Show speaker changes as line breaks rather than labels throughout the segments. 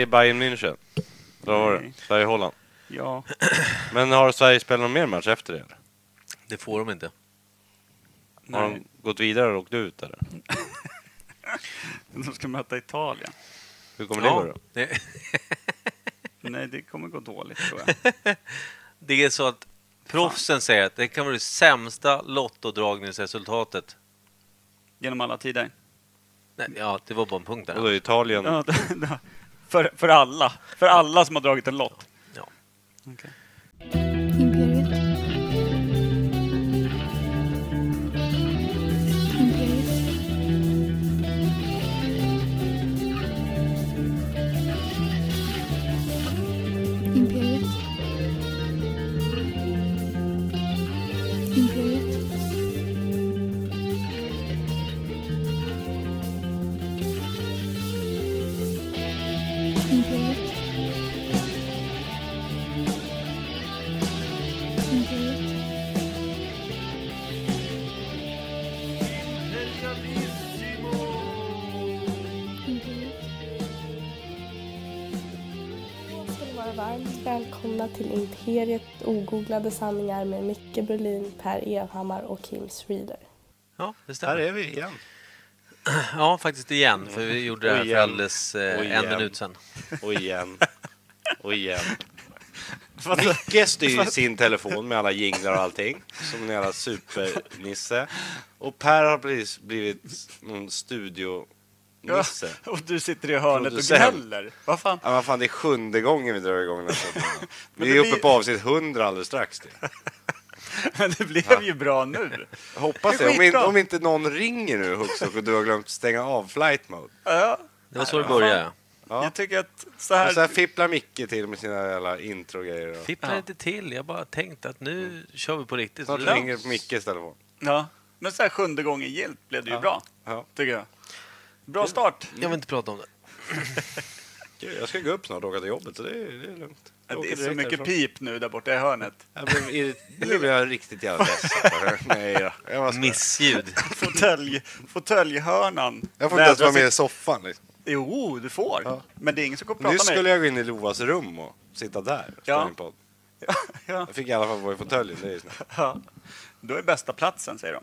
i Bayern München. Då var det.
Nej.
Sverige-Holland.
Ja.
Men har Sverige spelat någon mer match efter det? eller?
Det får de inte.
Har
Nej.
de gått vidare och åkt ut eller?
De ska möta Italien.
Hur kommer
Ja.
det gå då?
Nej,
Nej, det kommer gå dåligt tror jag.
Det är så att proffsen säger att det kan vara det sämsta lottodragningsresultatet.
Genom alla tider.
Mm.
Nej, ja, det var bara en punkt
Och då
där.
är Italien...
Ja, för, för alla. För alla som har dragit en lott.
Ja.
Okej.
Imperiet. Imperiet. Imperiet. Imperiet. Imperiet. Imperiet. Imperiet.
Då ska ni vara varmt välkomna till Imperiet ogooglade sanningar med Micke Berlin, Per Evhammar och Kim Reader.
ja, det
Här
stämmer.
är vi igen.
Ja, faktiskt igen, för vi gjorde det här
Och
för
igen.
alldeles
Och
eh, en
igen.
minut sedan.
Och igen. Och igen.
Fast- Micke styr sin telefon med alla jinglar och allting, som en jävla supernisse. Och Per har precis blivit någon studio-nisse. Ja.
Och du sitter i hörnet och
Producent.
gnäller. Vad fan?
vad fan, det är sjunde gången vi drar igång den här podden. Vi
det
är uppe
blir-
på avsnitt 100 alldeles strax. Det.
Men det blev ju bra nu.
Jag Hoppas
Det är
det. Om, in,
skitbra.
om inte någon ringer nu, Huxock, och du har glömt stänga av flight mode.
Ja,
Det var så det började.
Ja.
jag tycker att så
Och så här
här...
fipplar Micke till med sina jävla introgrejer. och-
Fippla inte till, jag bara tänkte att nu kör vi på riktigt.
Snart
Lugnt.
ringer det på Mickes telefon.
Ja. Men så här sjunde gången gillt blev det ju bra.
Ja.
Tycker jag. Bra start.
Jag vill inte prata om det.
Gud, Jag ska gå upp snart och åka till jobbet, så det är, det är lugnt. Jag
Det
åker
är så
direkt
mycket
härifrån.
pip nu där borta i hörnet.
Jag blev, irrit- nu blev jag riktigt jävla ledsen. Nej då. Jag, var jag
Missljud.
Fåtölj, fåtöljhörnan.
får inte ens
vädrar
vara med
sig-
i soffan. Liksom.
Jo, du får.
Ja.
Men det är ingen som kommer
Nu
prata med
skulle
dig.
jag gå in i Lovas rum och sitta där och
Ja.
spela in podd.
Ja.
Jag fick i alla fall vara i fåtöljen. det är ju snällt.
Ja. Då är bästa platsen, säger de.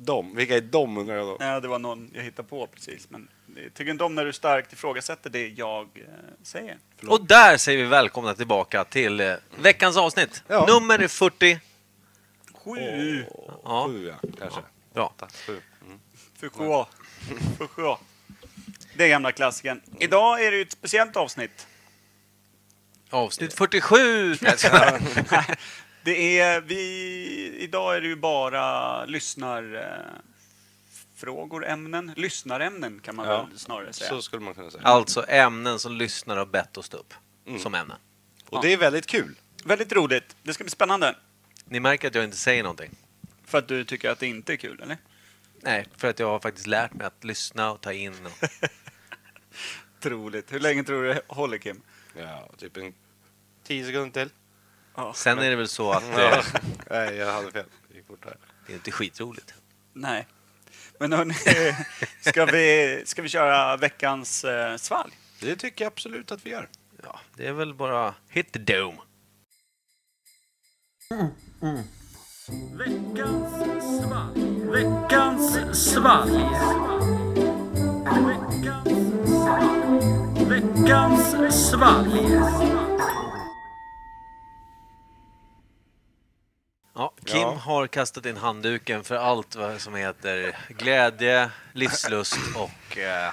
De, vilka är de undrar jag då?
Nej, det var någon jag hittade på precis. Men jag tycker inte om när du starkt ifrågasätter det jag eh, säger.
Och där säger vi välkomna tillbaka till eh, veckans avsnitt.
Ja.
Nummer 40.
Sju!
Ja.
Sju ja, kanske.
Bra.
Åtta, sju.
För sjå. För sjå. Det är gamla klassiken. Idag är det ju ett speciellt avsnitt.
Avsnitt 47! Nej, jag skojar.
Det är, vi, idag är det ju bara lyssnarfrågor, ämnen. Lyssnarämnen kan man
Ja.
väl snarare säga.
Så skulle man kunna säga.
alltså ämnen som lyssnare har bett oss ta upp som ämnen.
Och det är väldigt kul.
Väldigt roligt. Det ska bli spännande.
Ni märker att jag inte säger någonting.
För att du tycker att det inte är kul, eller?
Nej, för att jag har faktiskt lärt mig att lyssna och ta in. Och...
Troligt. Hur länge tror du det håller, Kim?
Ja, typ en tio sekunder till.
Sen är det väl så att eh,
Ja. Nej, jag hade fel. Det gick fortare.
det är inte skitroligt.
Nej. Men hörni, ska vi, ska vi köra veckans eh, svalg?
Det tycker jag absolut att vi gör.
Ja, det är väl bara hit the dome. Ja, Kim
Ja.
har kastat in handduken för allt vad som heter glädje, livslust och... Eh,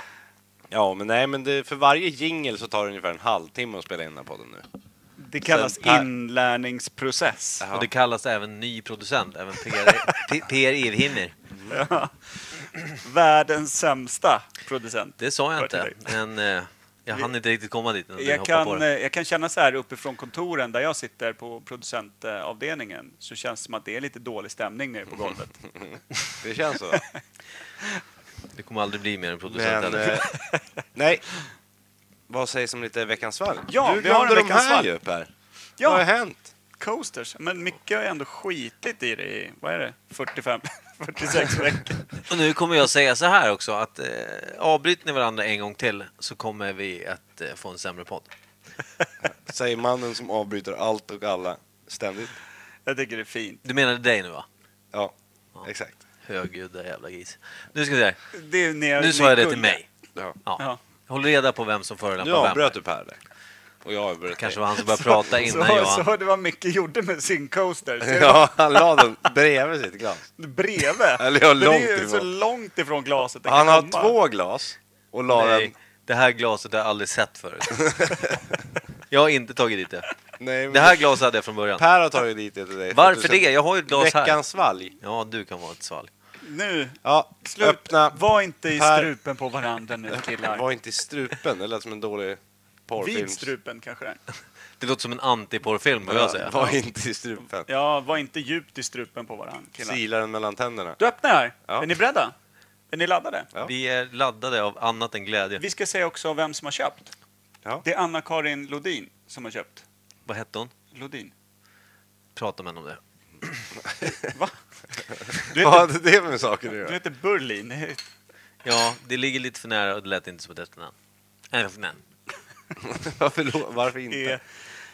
Ja, men nej, men det, för varje jingel så tar det ungefär en halvtimme att spela in den här podden nu.
Det kallas
här.
inlärningsprocess.
och det kallas även ny producent, även Per, P- per Evhimmer.
Världens sämsta producent.
Det sa jag
Hör till
inte, men eh, jag hann inte riktigt komma dit. innan du
Jag
hoppade
kan,
på
eh,
det.
jag kan känna så här uppifrån kontoren där jag sitter på producentavdelningen så känns det som att det är lite dålig stämning nere
Mm.
på golvet.
Det känns så.
Det kommer aldrig bli mer än producent.
Men,
heller.
eh, nej. Vad sägs om lite veckans svalg?
Ja,
du
vi har en
glömde de
veckans
här
svalg.
ju Per. Vad har
Ja,
hänt?
coasters. Men mycket har ändå skitit i det i, vad är det, 45? 46 veckor.
Och nu kommer jag säga så här också att eh, avbryter ni varandra en gång till så kommer vi att eh, få en sämre podd.
Säger mannen som avbryter allt och alla ständigt.
Jag tycker det är fint.
Du menade dig nu va?
Ja, exakt.
Högljudda jävla gris. Nu ska vi se.
Det är när jag-
Nu
ni
sa jag det till
kunde.
mig.
Ja.
Ja.
Ja.
Håll reda på vem som förolämpar
Nu
vem.
avbröt du Per där. Och jag avbröt
kanske
dig.
var han som började prata innan
så,
Johan.
Så det var Micke gjorde med sin coaster. Så jag
Ja, han la den bredvid sitt glas.
var Bredvid.
Eller jag
Men det är ju
långt ifrån.
så långt ifrån glaset det
Han
kan
har
komma.
två glas och la
Nej,
den...
det här glaset har jag aldrig sett förut. jag har inte tagit dit det.
Nej, men
Det här glaset hade jag från början.
Per har tagit dit det till dig. för att
Varför
du
det?
ska-
Jag har ju ett glas här.
Veckans svalg.
Ja, du kan vara ett svalg.
Nu,
Ja,
slut.
öppna.
Var inte i
Per.
strupen på varandra nu killar.
Var inte i strupen, det lät som en dålig porrfilm.
Vid strupen kanske. det är.
Det låter som en antiporrfilm, vad jag säga.
Var inte i strupen.
Ja, var inte djupt i strupen på varandra killar.
Sila den mellan tänderna.
Då öppnar jag här.
Ja.
Är ni beredda? Är ni laddade?
Ja.
Vi är laddade av annat än glädje.
Vi ska säga också vem som har köpt.
Ja.
Det är Anna-Karin Lodin som har köpt.
Vad hette hon?
Lodin.
Prata med henne om det.
Va? Du
Vad
heter,
hade det med saker att
du
göra?
heter Burlin.
Ja, det ligger lite för nära och det lät inte som ett efternamn. Äh, efternamn.
Varför, lo- varför inte?
Är,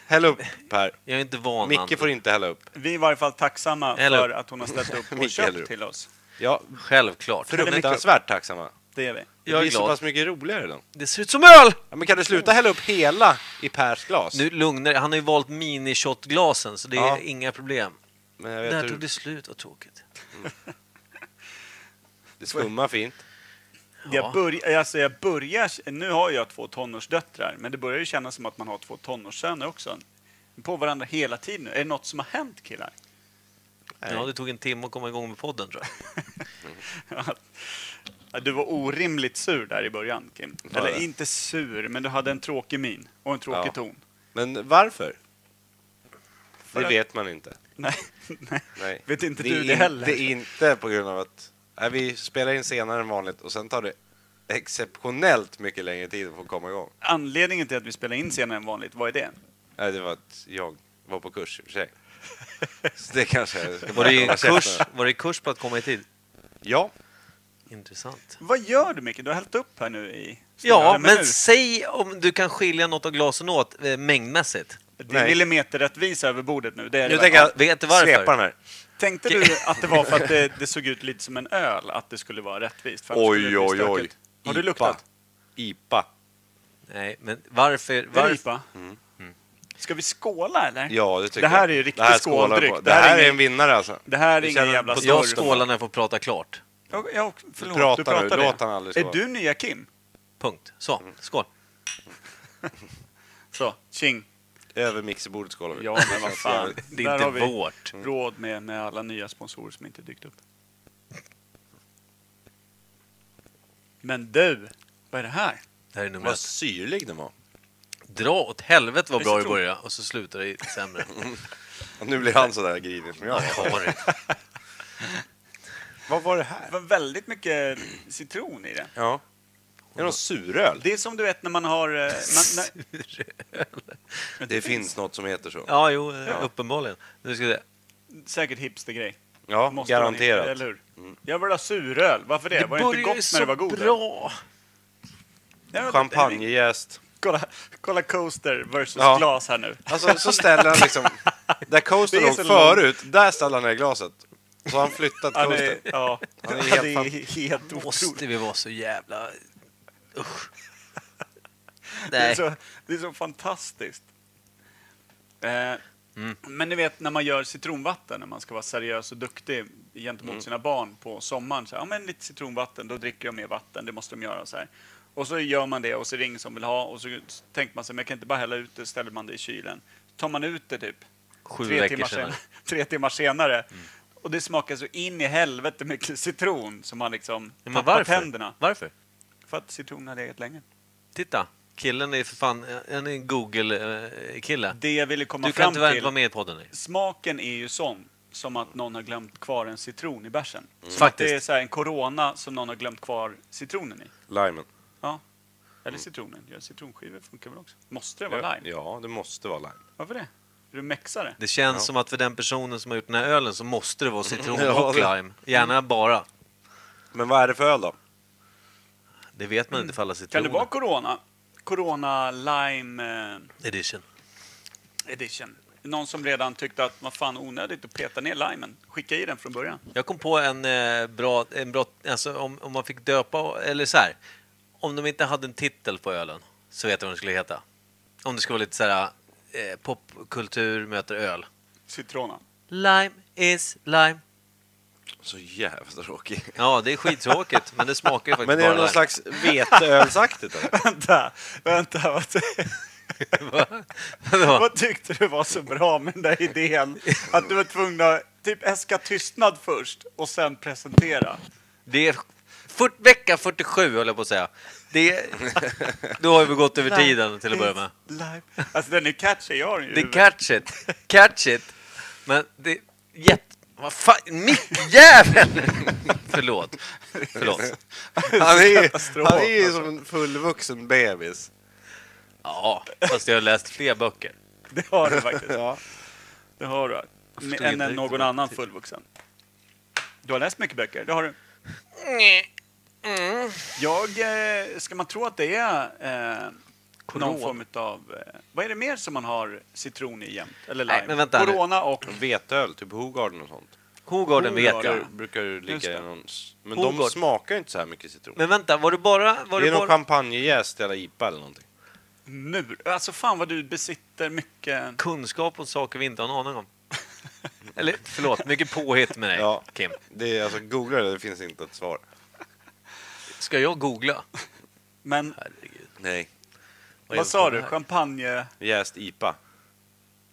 Häll upp Per.
Jag är inte van
Micke får inte hälla upp.
vi är i varje fall tacksamma
Eller-
för att hon har ställt upp och
Micke, eller?
köpt till oss.
Ja,
Självklart.
fruktansvärt tacksamma.
Det är vi.
Det
Jag är
blir så
glad.
pass mycket roligare då.
Det ser ut som öl!
Ja, men kan du sluta hälla upp hela i Pers glas?
Nu lugnar Han har ju valt minishotglasen, så det är
Ja.
inga problem.
Men jag
Där
vet
tog det
hur,
slut, vad tråkigt.
det skummar fint.
Jag, börj, alltså jag börjar... Nu har jag två tonårsdöttrar, men det börjar ju kännas som att man har två tonårssöner också. På varandra hela tiden. Är det något som har hänt killar?
Ja, det tog en timme att komma igång med podden, tror jag.
Ja, Du var orimligt sur där i början, Kim.
Var
Eller
det?
inte sur, men du hade en tråkig min och en tråkig
Ja.
ton.
Men varför?
För
Det
att-
vet man inte.
Nej, nej.
Nej.
Vet inte
det
du
är
det heller?
Det är inte på grund av att nej, vi spelar in senare än vanligt och sen tar det exceptionellt mycket längre tid att få komma igång.
Anledningen till att vi spelar in senare än vanligt, vad är det?
Nej, det var att jag var på kurs i och för sig. Så det kanske jag ska
Var det,
hålla käften
kurs,
med.
var det kurs på att komma i tid?
Ja,
Intressant.
Vad gör du, Micke? Du har hällt upp här nu i snarare
Ja,
en
men
minut.
säg om du kan skilja något av glasen åt eh, mängdmässigt.
Det är
Nej.
millimeterrättvisa över bordet nu. Det är det verkligen.
nu tänker jag
Vet du varför?
svepa den här.
Tänkte du att det var för att det, det såg ut lite som en öl, att det skulle vara rättvist? För annars skulle
Oj,
det bli
oj, oj.
stökigt. Har du luktat?
IPA.
Nej, men varför?
Det är
varför?
IPA. Mm. Ska vi skåla eller?
Ja, det tycker
Det här
jag.
är ju riktig
Det här skålar
skåldryck.
på. Det här är en vinnare alltså.
Det här är
Vi
ingen
känner
jävla
på
Jag
storm.
skålar när jag får prata klart.
Ja, ja, förlåt,
pratar
du
nu,
pratar det.
låt han aldrig skåla.
Är du nya Kim?
Punkt. Så,
Mm.
skål.
Så, tjing.
Över mixerbordet skålar vi.
Ja, men vad fan.
Det
Där
är
har
inte
vi
vårt.
råd med, med alla nya sponsorer som inte dykt upp. Men du, vad är det här?
Det här är nummer
Vad
ett.
syrlig den var.
Dra åt helvete vad
Det är
bra det
citron.
började och så slutar det sämre.
Och nu blir han sådär grinig som jag var.
Karin.
Vad var det
Det
här?
var väldigt mycket citron i det.
Ja. Är det någon suröl?
Det är som du vet när man har... eh, Man, när,
Det finns något som heter så.
Ja, jo, eh, uppenbarligen. Nu ska vi se.
säkert hipstergrej.
Ja,
Måste vara en hipster,
garanterat. Mm.
Eller hur? Jag vill ha suröl. Varför det? var det inte
börjar ju
gott när det var god?
bra!
Ja, men-
Champagnejäst.
Kolla, kolla coaster versus
Ja.
glas här nu.
Alltså så ställer han liksom... Där coastern
Det är
låg
så långt.
förut, där ställer han ner glaset. Så har han flyttat
Han är,
coastern.
ja,
Han är
Ja,
helt
det
fan-
är helt otroligt.
Måste vi vara så jävla... Usch.
Det är
Nej,
så, det är så fantastiskt. Eh,
Mm.
Men ni vet när man gör citronvatten, när man ska vara seriös och duktig gentemot
Mm.
sina barn på sommaren. Så här, ja, men lite citronvatten, då dricker de mer vatten, det måste de göra. Så här. Och så gör man det och så ringer som vill ha och så tänker man sig, men jag kan inte bara hälla ut det, ställer man det i kylen. tar man ut det typ
sju
tre
veckor
timmar, senare,
senare. Mm.
tre timmar senare. Och det smakar så in i helvete mycket citron som man liksom
Ja, Men
tappar
varför?
tänderna.
Varför?
För att citronen har legat länge.
Titta, killen är för fan... Han är en Google-kille.
Det jag ville komma
Du kan
fram
tyvärr
till,
inte vara med i podden. nu.
smaken är ju sån som att någon har glömt kvar en citron i bärsen. Som att
Faktiskt.
Det är så här en corona som någon har glömt kvar citronen i.
Limen.
Ja. Eller citronen. Ja, citronskivor funkar väl också? Måste det vara
Ja,
lime?
ja, det måste vara lime.
Varför det? Är du mexare?
Det känns som att för den personen som har gjort den här ölen så måste det vara citron
Ja,
och
det-
lime. Gärna bara.
Men vad är det för öl då?
Det vet man inte för alla
Kan det vara
citroner.
Corona? Corona Lime eh,
Edition.
Edition. Någon som redan tyckte att vad fan onödigt att peta ner limen. Skicka i den från början.
Jag kom på en eh, bra... En bra alltså om, om man fick döpa... Eller så här. Om de inte hade en titel på ölen så vet jag vad den skulle heta. Om det skulle vara lite så här... Eh, popkultur möter öl.
Citrona.
Lime is lime.
Så jävla tråkig.
Ja, det är skittråkigt, men det smakar ju faktiskt
Men är det
bara
någon
lime.
slags veteölsaktigt eller?
vänta, vänta. Vad,
Vadå?
vad tyckte du var så bra med den där idén? Att du var tvungen att typ äska tystnad först och sen presentera.
Det är fyrt, vecka 47, höll jag på att säga. Det är, då har vi gått över tiden till att börja med.
Live. Alltså den är catchy, jag har den ju i
Det är
huvudet.
catch it. Catch it. Men det är jätte... Vad fan, mickjävel! Förlåt. Förlåt.
Han är,
Katastrof,
han är ju som en fullvuxen bebis.
Ja, fast jag har läst fler böcker.
Det har du faktiskt.
Ja.
Det har du.
förstod
Än
inte
än någon
riktigt.
annan fullvuxen. Du har läst mycket böcker, det har du.
Mm.
Jag, eh, ska man tro att det är eh, någon
Corona.
form av... Eh, vad är det mer som man har citron i jämt? Eller
Nej,
lime?
men vänta nu.
Corona och...
Veteöl, typ Hogarden och sånt.
Hogarden vet jag.
Hogarden.
Där brukar ju
Just
ligga
det.
i någon... s- Men de
Hogarden.
smakar ju inte så här mycket citron.
Men vänta, var det bara... Var
det
det
är någon
bara...
champagnejäst eller IPA eller någonting.
Nu! Alltså fan vad du besitter mycket...
kunskap om saker vi inte har en aning om. Eller förlåt, mycket påhitt med dig,
Ja.
Kim.
Det är, alltså, googla det, det finns inte ett svar.
Ska jag googla?
Men
Herregud.
Nej.
vad,
är det
sa
för
du?
här?
Champagne...
Jäst IPA.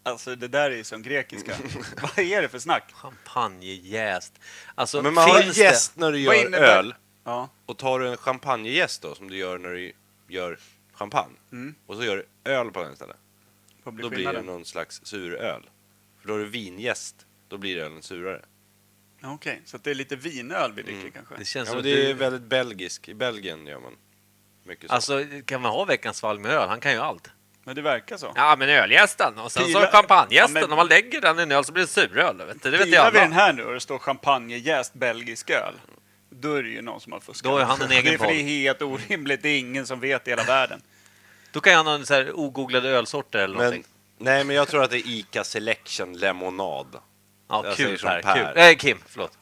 Alltså det där är ju som grekiska. vad är det för snack?
Champagnejäst. Alltså,
Men man har
finns
jäst när du
Vad
gör
innebär-
öl.
Ja.
Och tar du en champagnejäst då, som du gör när du gör champagne.
Mm.
Och så gör du öl på den istället.
Vad blir
Då blir det
skillnaden?
någon slags suröl. För då är det vinjäst. Då blir ölen surare.
Ja, Okej, så att det är lite vinöl vi dricker kanske?
Mm, det? Det känns
Ja,
som
men
att
det är
du...
väldigt belgisk. I Belgien gör man mycket så.
Alltså, kan man ha veckans fall med öl? Han kan ju allt.
Men det verkar så.
Ja, men öljästen och sen
Pila-
så champagnejästen.
Ja, men-
Om man lägger den i en öl så blir det suröl. Vet du? Det vet jag
Pilar vi den
alla.
här nu och det står champagnejäst belgisk öl, då är det ju någon som har fuskat.
Då har han en egen
det, är för
podd.
det är helt orimligt, det är ingen som vet i hela världen.
Då kan jag ha en så här ogooglade ölsorter eller
men,
någonting.
nej, men jag tror att det är ICA Selection Lemonad.
Ja,
jag säger
kul
som
Per.
Per.
Kul. Nej, Kim. Förlåt.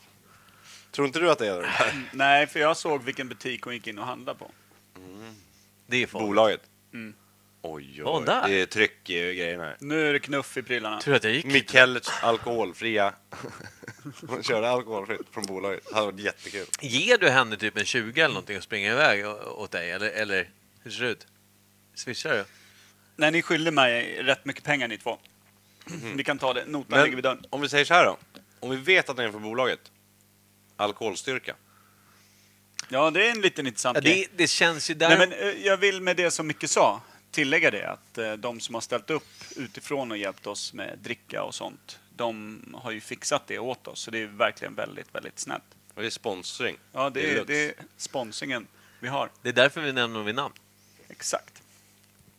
Tror inte du att det är det här
Nej, för jag såg vilken butik hon gick in och handlade på.
Det är farligt.
bolaget?
Mm.
Oj,
Var hon
oj.
där?
Det är tryck i grejerna här.
Nu är det knuff i prylarna.
Tur att jag gick.
Mikellerts alkoholfria. Man körde alkoholfritt från bolaget. Det hade varit jättekul.
Ger du henne typ en 20 eller någonting och springer iväg å- åt dig? Eller, eller hur ser det ut? Swishar du?
Nej, ni skyller mig rätt mycket pengar ni två. Vi kan ta det, notan ligger vid
Men
dörren.
om vi säger så här då. Om vi vet att den är från bolaget. Alkoholstyrka.
Ja, det är en liten intressant
Ja,
grej.
det, det känns ju där...
Nej, men eh, jag vill med det som Micke sa tillägga det att eh, de som har ställt upp utifrån och hjälpt oss med dricka och sånt, de har ju fixat det åt oss. Så det är verkligen väldigt, väldigt snällt.
Och det är sponsring.
Ja, det, är,
lux.
det är sponsringen vi har.
Det är därför vi nämner dem vid namn.
Exakt.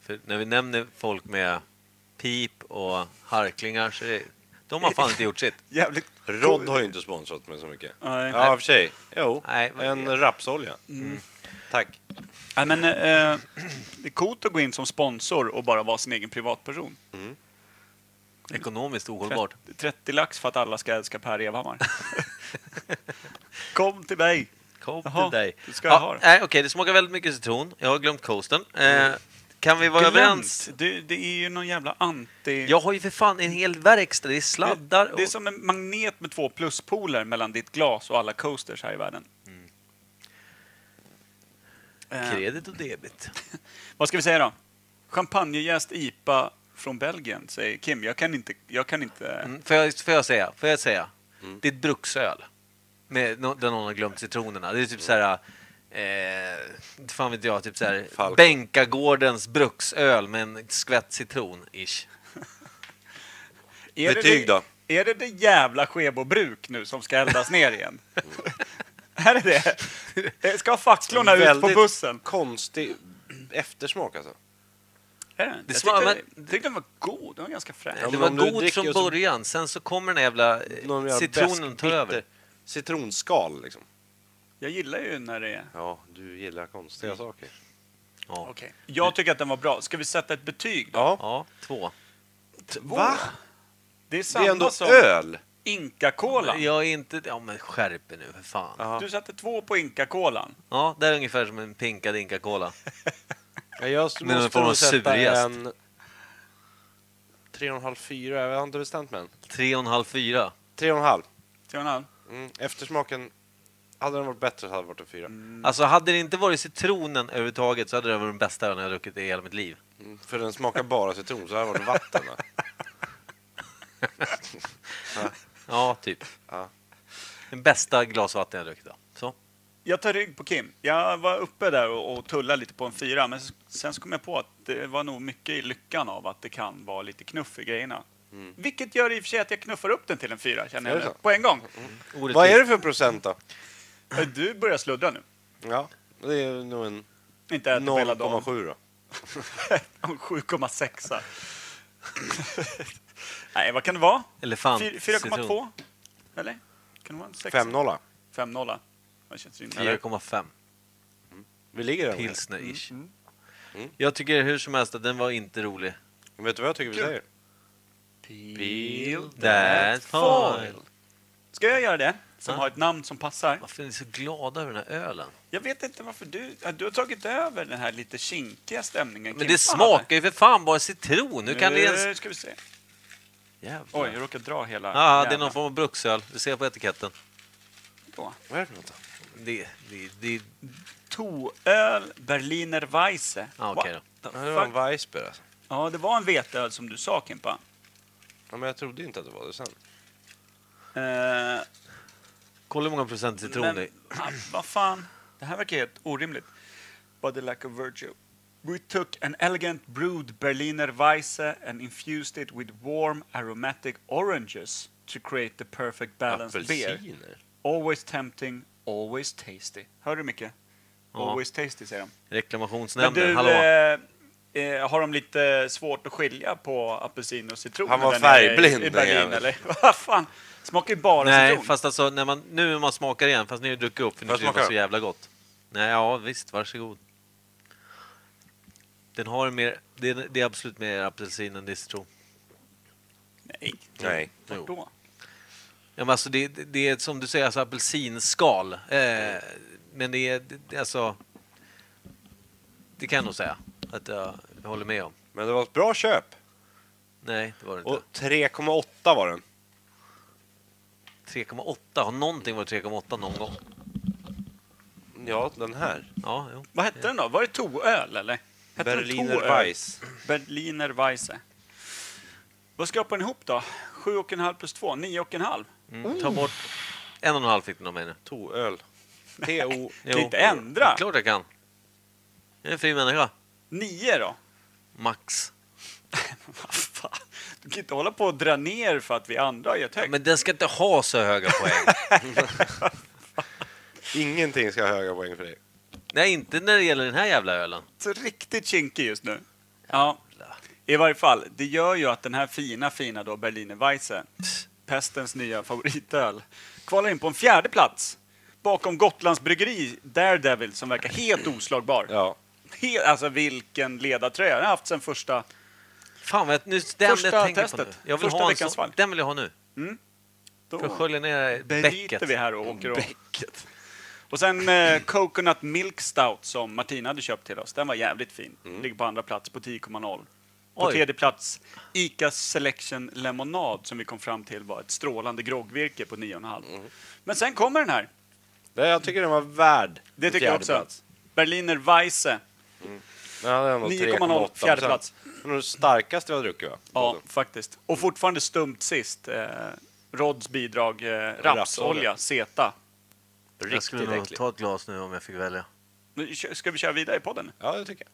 För när vi nämner folk med pip och harklingar så är det, de har fan inte gjort sitt.
Jävligt
Rodd har ju inte sponsrat mig så mycket.
Nej.
Ja, i och för sig. Mm. Jo,
Nej, men-
en rapsolja. Tack.
Nej, men, eh, det är coolt att gå in som sponsor och bara vara sin egen privatperson.
Ekonomiskt ohållbart.
30 lax för att alla ska älska Per Evhammar. Kom till mig!
Kom
Jaha,
till dig.
det ska jag ha det.
nej, Okej, det smakar väldigt mycket citron. Jag har glömt coasten. Eh, kan vi vara överens?
Glömt. Det, det är ju någon jävla anti...
Jag har ju för fan en hel verkstad. Det är sladdar
Det, det är
och...
som en magnet med två pluspoler mellan ditt glas och alla coasters här i världen.
Mm.
Eh,
Kredit och debit.
vad ska vi säga då? Champagnejäst IPA från Belgien, säger Kim. Jag kan inte... Jag kan inte
Mm, får, jag, får jag säga? Får jag säga?
Mm.
Det är ett bruksöl. Med, nå- där någon har glömt citronerna. Det är typ så här... Eh, inte fan vet jag, typ så här
Falco.
Bänkagårdens bruksöl med en skvätt citron, ish.
Är det
Betyg
det,
då?
Är det det jävla Skebobruk nu som ska eldas ner igen? är det det? Ska facklorna ut på
Väldigt
bussen?
Konstig eftersmak alltså.
Är den?
Det
jag
smakar-
tyckte,
men-
tyckte den var god. Den var ganska fräsch.
Ja,
det
men
var
om du
god
dricker
från
och så-
början, sen så kommer den här jävla eh,
Någon jävla
citronen tar
bäskbitter-
över.
Citronskal liksom.
Jag gillar ju när det är...
Ja, du gillar konstiga saker.
Ja.
Jag tycker att den var bra. Ska vi sätta ett betyg då?
Ja.
ja, två.
Va?
Det är
Det
samma
är ändå
som
öl!
Inka-kolan.
Jag är inte... Ja, men skärp er nu för fan. Ja.
Ja.
Du satte två på Inka-kolan.
det är ungefär som en pinkad Inca-cola.
Ja, Jag
Men den
måste
får vara
nog sätta
surjäst.
en... 3,5-4, jag har inte bestämt mig än.
Tre och en halv, fyra.
3,5.
Tre och en halv.
Mm. Eftersmaken, hade den varit bättre så hade det varit en 4.
Alltså, hade det inte varit citronen överhuvudtaget så hade det varit den bästa ölen jag har druckit i hela mitt liv.
Mm, För den smakar bara citron, så här var det vatten. va?
Ja, typ.
Ja.
Den bästa glasvatten jag har druckit idag. Så.
Jag tar rygg på Kim. Jag var uppe där och, och tullade lite på en fyra, men s- sen så kom jag på att det var nog mycket i lyckan av att det kan vara lite knuff i grejerna. Vilket gör i och för sig att jag knuffar upp den till en fyra, känner
Mm.
jag
Är det
nu,
så? Mm.
på en gång. Eh,
Orättvist.
Vad är det för procent då?
Du börjar sluddra nu.
Ja, det är nog en
Inte äter på hela dagen.
0,7 då.
Om 7,6. Nej, vad kan det vara?
Elefant.
Fyr-
citron.
4,2? Eller? Kan det vara en sexa?
5-0.
5,0. Det känns rimligt. Mm.
4,5.
Vi ligger där. omkring.
Pilsner-ish. Jag tycker hur som helst att den var inte rolig.
Men Vet du vad jag tycker vi
Kul.
säger?
Peel
That foil.
Ska jag göra det? Som
Ja.
har ett namn som passar.
Varför är ni så glada över den här ölen?
Jag vet inte varför du... ja, Du har tagit över den här lite kinkiga stämningen.
Men
Kim.
det
Fan,
smakar ju för fan bara citron! Hur
nej.
kan det ens...
Nu ska vi se.
Jävlar.
Oj, jag råkade dra hela...
Ja, det är
jävla-
någon form av bruksöl. Du ser på etiketten.
Då.
Vad är det för något? då?
Det, det, det,
Toöl Berliner Weisse.
ja, okej då.
What the
Ja, Det var en
fuck?
Weissbier alltså.
Ja, det var en veteöl som du sa, Kimpa.
Ja, men jag trodde inte att det var det sen.
Eh,
Kolla hur många procent citron det är.
ah, vad fan. Det här verkar helt orimligt. By the lack of virtue. We took an elegant brewed Berliner Weisse and infused it with warm aromatic oranges to create the perfect balanced beer.
Apelsiner?
Always tempting, always tasty. Hör du Micke?
Ja.
Always tasty säger de. Men
Reklamationsnämnden,
du,
hallå?
eh, eh, har de lite svårt att skilja på apelsin och citron?
Han var
där nere i-
färgblind,
I
den
Berlin
jäveln.
eller? Vad fan? Smakar ju bara
Nej,
citron.
fast alltså när man, nu när man smakar igen, fast ni har ju druckit upp för ni
Får jag
tyckte det var
smaka?
så jävla gott. Nej, ja visst, varsågod. Den har en mer, det, är- det är absolut mer apelsin än distro.
Nej.
Nej.
Vart då?
Ja, men alltså det, det- det är som du säger, alltså apelsinskal. Eh, men det är, det, alltså... Det kan jag nog säga att jag håller med om.
Men det var ett bra köp.
Nej, det var det inte.
Och 3,8 var den.
3,8. Har någonting varit 3,8 någon gång?
Ja, den här.
Ja, jo.
Vad hette den då? Var det toöl eller? Hette den
Berliner
toöl?
Weiss.
Berliner Weisse. Vad skrapar den ihop då? 7,5 plus 2, 9,5.
Mm. Ta bort... En och en halv fick du av mig nu.
Toöl. T-O...
Kan inte ändra.
Klart jag kan. Jag är en fri människa.
9 då?
Max.
Vad fan? Du kan inte hålla på och dra ner för att vi andra har gett högt.
Men den ska inte ha så höga poäng.
Ingenting ska ha höga poäng för dig.
Nej, inte när det gäller den här jävla ölen.
så riktigt kinkig just nu. Ja. I varje fall, det gör ju att den här fina, fina då Berliner Weisse, pestens nya favoritöl, kvalar in på en fjärde plats bakom Gotlands bryggeri Daredevil som verkar helt oslagbar.
Ja.
He- alltså vilken ledartröja den har haft sen första...
Fan, vad jag, nu, den
Första
jag tänker på nu.
testet.
Jag vill
Första
ha en
veckans
sån.
fall.
Den vill jag ha nu.
Då
För att skölja ner
bryter
bäcket.
vi här och åker och... Och sen eh, Coconut Milk Stout som Martina hade köpt till oss. Den var jävligt fin. Ligger på andra plats på 10,0. På
Oj.
tredje plats ICA Selection Lemonad som vi kom fram till var ett strålande groggvirke på 9,5. Men sen kommer den här.
Nej, jag tycker den var värd
Det
en
tycker jag
fjärde
också.
plats.
Berliner Weisse.
Den hade ändå
9,0
3,8
fjärde plats.
Den är den starkaste vi har druckit va?
Ja, faktiskt. Och fortfarande stumt sist. Eh, Rods bidrag eh, rapsolja, Zeta.
Jag
Riktigt
skulle nog
äcklig.
ta ett glas nu om jag fick välja.
Nu kö- Ska vi köra vidare i podden?
Ja, det tycker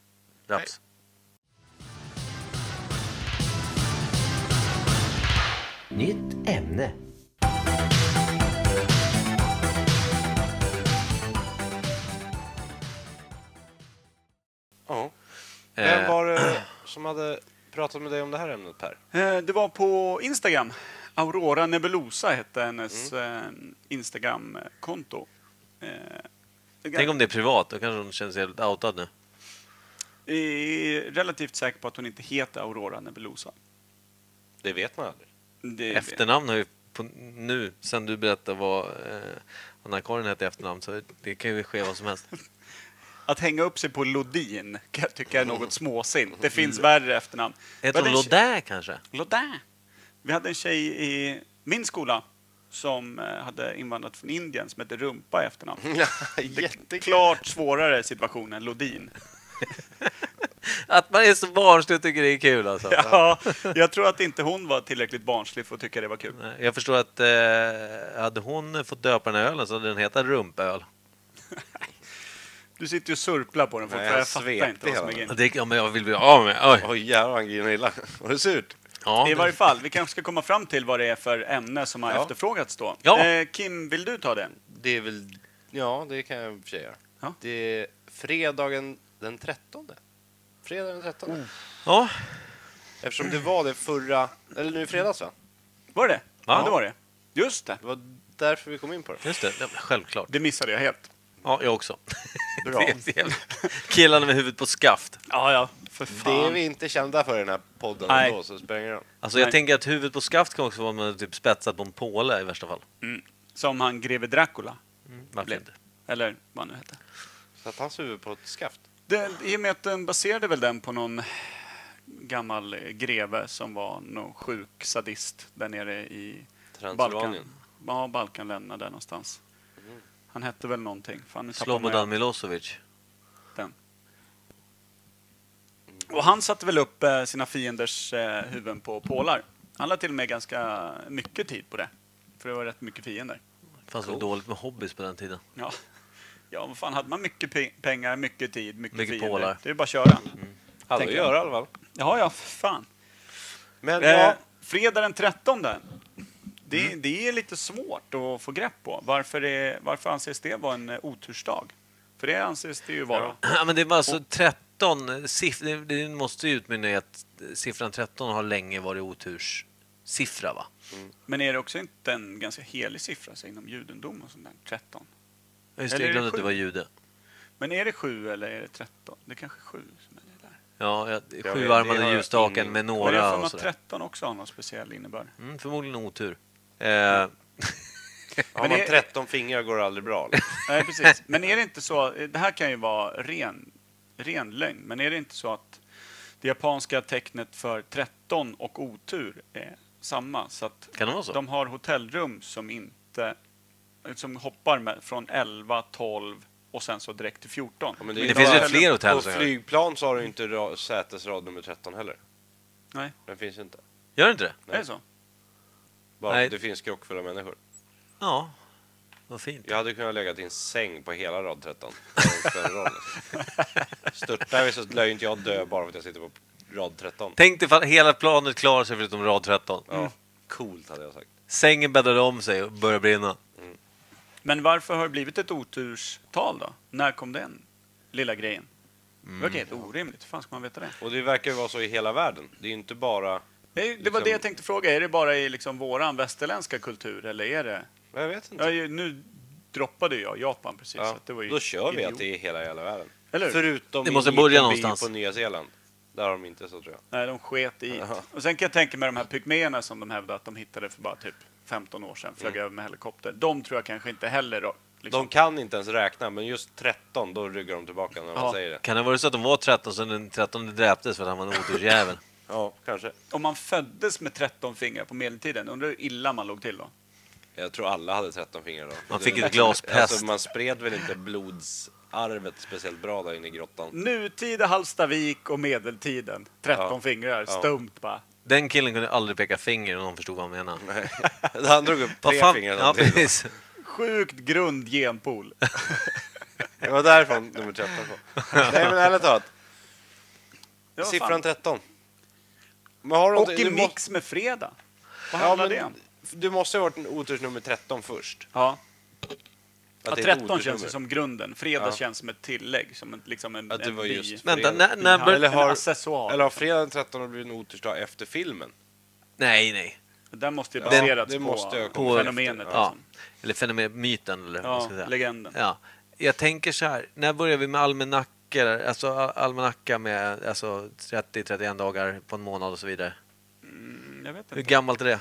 jag.
Raps.
Nytt ämne.
Ja.
Eh, Eh,
Vem var det som hade pratat med dig om det här ämnet Per?
Eh, Det var på Instagram. Aurora Nebulosa hette hennes
Mm.
eh, Instagram-konto. Eh,
Tänk om det är privat, då kanske hon känner sig helt outad nu.
Jag är relativt säker på att hon inte heter Aurora Nebulosa.
Det vet man aldrig.
Det
Efternamn har ju på, nu, sen du berättade vad eh, Anna-Karin hette i efternamn, så det kan ju ske vad som helst.
Att hänga upp sig på Lodin kan jag tycka är något småsint. Det finns värre efternamn.
Mm. Heter
Vi
hon
hade en tje-
Lodä kanske?
Lodin. Vi hade en tjej i min skola som eh, hade invandrat från Indien som hette Rumpa i efternamn. Det är klart svårare situation än Lodin.
Att man är så barnslig och tycker det är kul alltså.
Ja, jag tror att inte hon var tillräckligt barnslig för att tycka det var kul.
Nej, Jag förstår att eh, hade hon fått döpa den här ölen så hade den hetat rumpöl.
Du sitter ju och surplar på den fortfarande.
jag
Jag fattar inte
svepte
vad som
hela
är grejen.
Och det- Ja, men jag vill bli av med... Oj.
Oj jävlar han grinar illa. Var det surt?
Ja,
I
men-
varje fall, vi kanske ska komma fram till vad det är för ämne som har
Ja.
efterfrågats då.
Ja.
Eh, Kim, vill du ta det?
Det är väl... Ja, det kan jag i och för sig göra.
Ja.
Det är fredagen den 13. Fredagen den 13.
ja.
Eftersom det var det förra... Eller nu i fredags va?
Var det
Ja.
Ja, det var det. Just det.
Det var därför vi kom in på det.
Just det, ja, men självklart.
Det missade jag helt.
Ja, jag också.
Bra.
Det är så jävla- Killarna med huvudet på skaft.
Ja, ja. För
Det är vi inte kända för i den här podden
Nej.
ändå, så spelar det ingen roll.
Alltså jag
Nej.
tänker att huvudet på skaft kan också vara om man är typ spetsat på en påle i värsta fall.
Som han greve Dracula
Varför
blev.
inte?
Eller vad han nu hette.
Satt hans huvud på ett skaft?
Det, I och med att den baserade väl den på någon gammal greve som var någon sjuk sadist där nere i Balkan.
Transylvanien.
Ja, Balkanländerna där någonstans. Han hette väl någonting. Fan, nu tappar man ju-
Slobodan Milosevic.
Och han satte väl upp eh, sina fienders eh, huvuden på pålar. Han lade till och med ganska mycket tid på det. För det var rätt mycket fiender.
Det fanns väl dåligt med hobbys på den tiden.
Ja, ja vad fan, hade man mycket pe- pengar, mycket tid, mycket,
Mycket
fiender.
pålar.
Det är bara att köra.
Mm. Hade att
Tänker
göra i alla fall.
Ja, ja, för fan.
Men
Eh,
ja,
fredag den 13. Det, det är lite svårt att få grepp på. Varför, är, varför anses det vara en eh, otursdag? För det anses det ju vara.
Ja, men det var alltså 13 siffror. Det måste ju utmynna i att siffran 13 har länge varit oturssiffra va?
Men är det också inte en ganska helig siffra så inom judendom och sånt där? 13.
Ja, Just det,
Eller är
jag
det
glömde att du
sju?
var jude.
Men är det 7 eller är det 13? Det är kanske är 7 som är det där.
Ja, jag-
det har
sjuarmade
jag
ljusstaken
ingen-
med
Men jag har för
några
mig
och
att
sådär.
13 också har någon speciell innebörd.
Mm, förmodligen otur. Eh,
har
men
man
det-
13 fingrar går det aldrig bra. liksom.
Nej, precis. Men är det inte så, eh, det här kan ju vara ren, ren lögn, men är det inte så att det japanska tecknet för 13 och otur är samma? Så att
Kan det vara så?
de har hotellrum som inte som hoppar med, från 11, 12 och sen så direkt till 14.
Ja, men
Det finns
ju
ju
bara-
fler hotell
På
som gör.
flygplan så har du inte ra- sätesrad nummer 13 heller.
Nej,
Den finns ju inte.
Gör det inte det?
är det så?
Bara
Nej.
för att det finns krockfulla människor.
Ja. Vad fint.
Jag hade kunnat lägga till en säng på hela rad 13. Det hade inte spelat någon roll, liksom. Störtar vi så lär ju inte jag dö bara för att jag sitter på rad 13.
Tänk dig ifall hela planet klarar sig förutom rad 13.
Ja, coolt hade jag sagt.
Sängen bäddade om sig och började brinna.
Men varför har det blivit ett oturstal då? När kom den lilla grejen?
Mm.
Det verkar helt orimligt. Hur fan ska man veta det?
Och det verkar ju vara så i hela världen. Det är ju inte bara...
Det, är ju- det var
Liksom-
det jag tänkte fråga. Är det bara i liksom våran västerländska kultur eller är det...
Jag vet inte.
Ja, ju- nu droppade jag Japan precis.
Ja,
Så att det var ju
Då kör vi att
idiot.
det är hela jävla världen.
Eller hur?
Förutom
Det
i
måste
en
börja
liten by
någonstans.
på Nya Zeeland. Där har de inte så tror jag.
Nej, de sket i
Ja.
Och Sen kan jag tänka mig de här pygméerna som de hävdade att de hittade för bara typ 15 år sedan. Flög över med helikopter. De tror jag kanske inte heller... då, Liksom.
Mm. De kan inte ens räkna, men just 13, då ryggar de tillbaka när man
Ja.
säger det.
Kan det vara så att de var 13 sen den 13 dräptes för att han var en otursjävel?
Ja, kanske.
Om man föddes med 13 fingrar på medeltiden, undrar hur illa man låg till då?
Jag tror alla hade 13 fingrar då.
Man fick ett glas pest.
Alltså, man spred väl inte blodsarvet speciellt bra där inne i grottan.
Nutida Hallstavik och medeltiden. 13
Ja.
fingrar,
Ja.
stumt bara.
Den killen kunde aldrig peka finger om någon förstod vad han menade.
Han drog upp
Vad
tre
fan?
fingrar
Ja,
samtidigt.
precis.
Sjukt grund genpool.
Det var därifrån nummer 13 kom. Nej, men ärligt talat.
Det var
Siffran
fan-
13. Men har du
Och
någonting- du
i
må-
mix med fredag. Vad
Ja,
handlar
men
det om?
Du måste ju ha varit en otursnummer 13 först.
Ja. Ja,
det är ett
13
odernummer.
känns ju som grunden. Fredag
Ja.
känns som ett tillägg, som en, liksom en,
Att det
en
var
bi-
just
Vänta,
fredag.
när, när bör...
eller
Eller
har, en
har-
accessoar.
Eller har fredagen den 13 blivit en otursdag efter filmen?
Nej, nej.
Den måste ju
Ja,
baserats
det måste
på,
jag
på
komma
fenomenet.
efter,
Ja.
Alltså.
Eller fenomen, myten eller vad man ska
Ja,
säga.
legenden.
Ja. Jag tänker så här, när börjar vi med almanackor? Alltså al- almanacka med alltså 30-31 dagar på en månad och så vidare.
Mm, Jag vet
Hur
inte.
gammalt är det?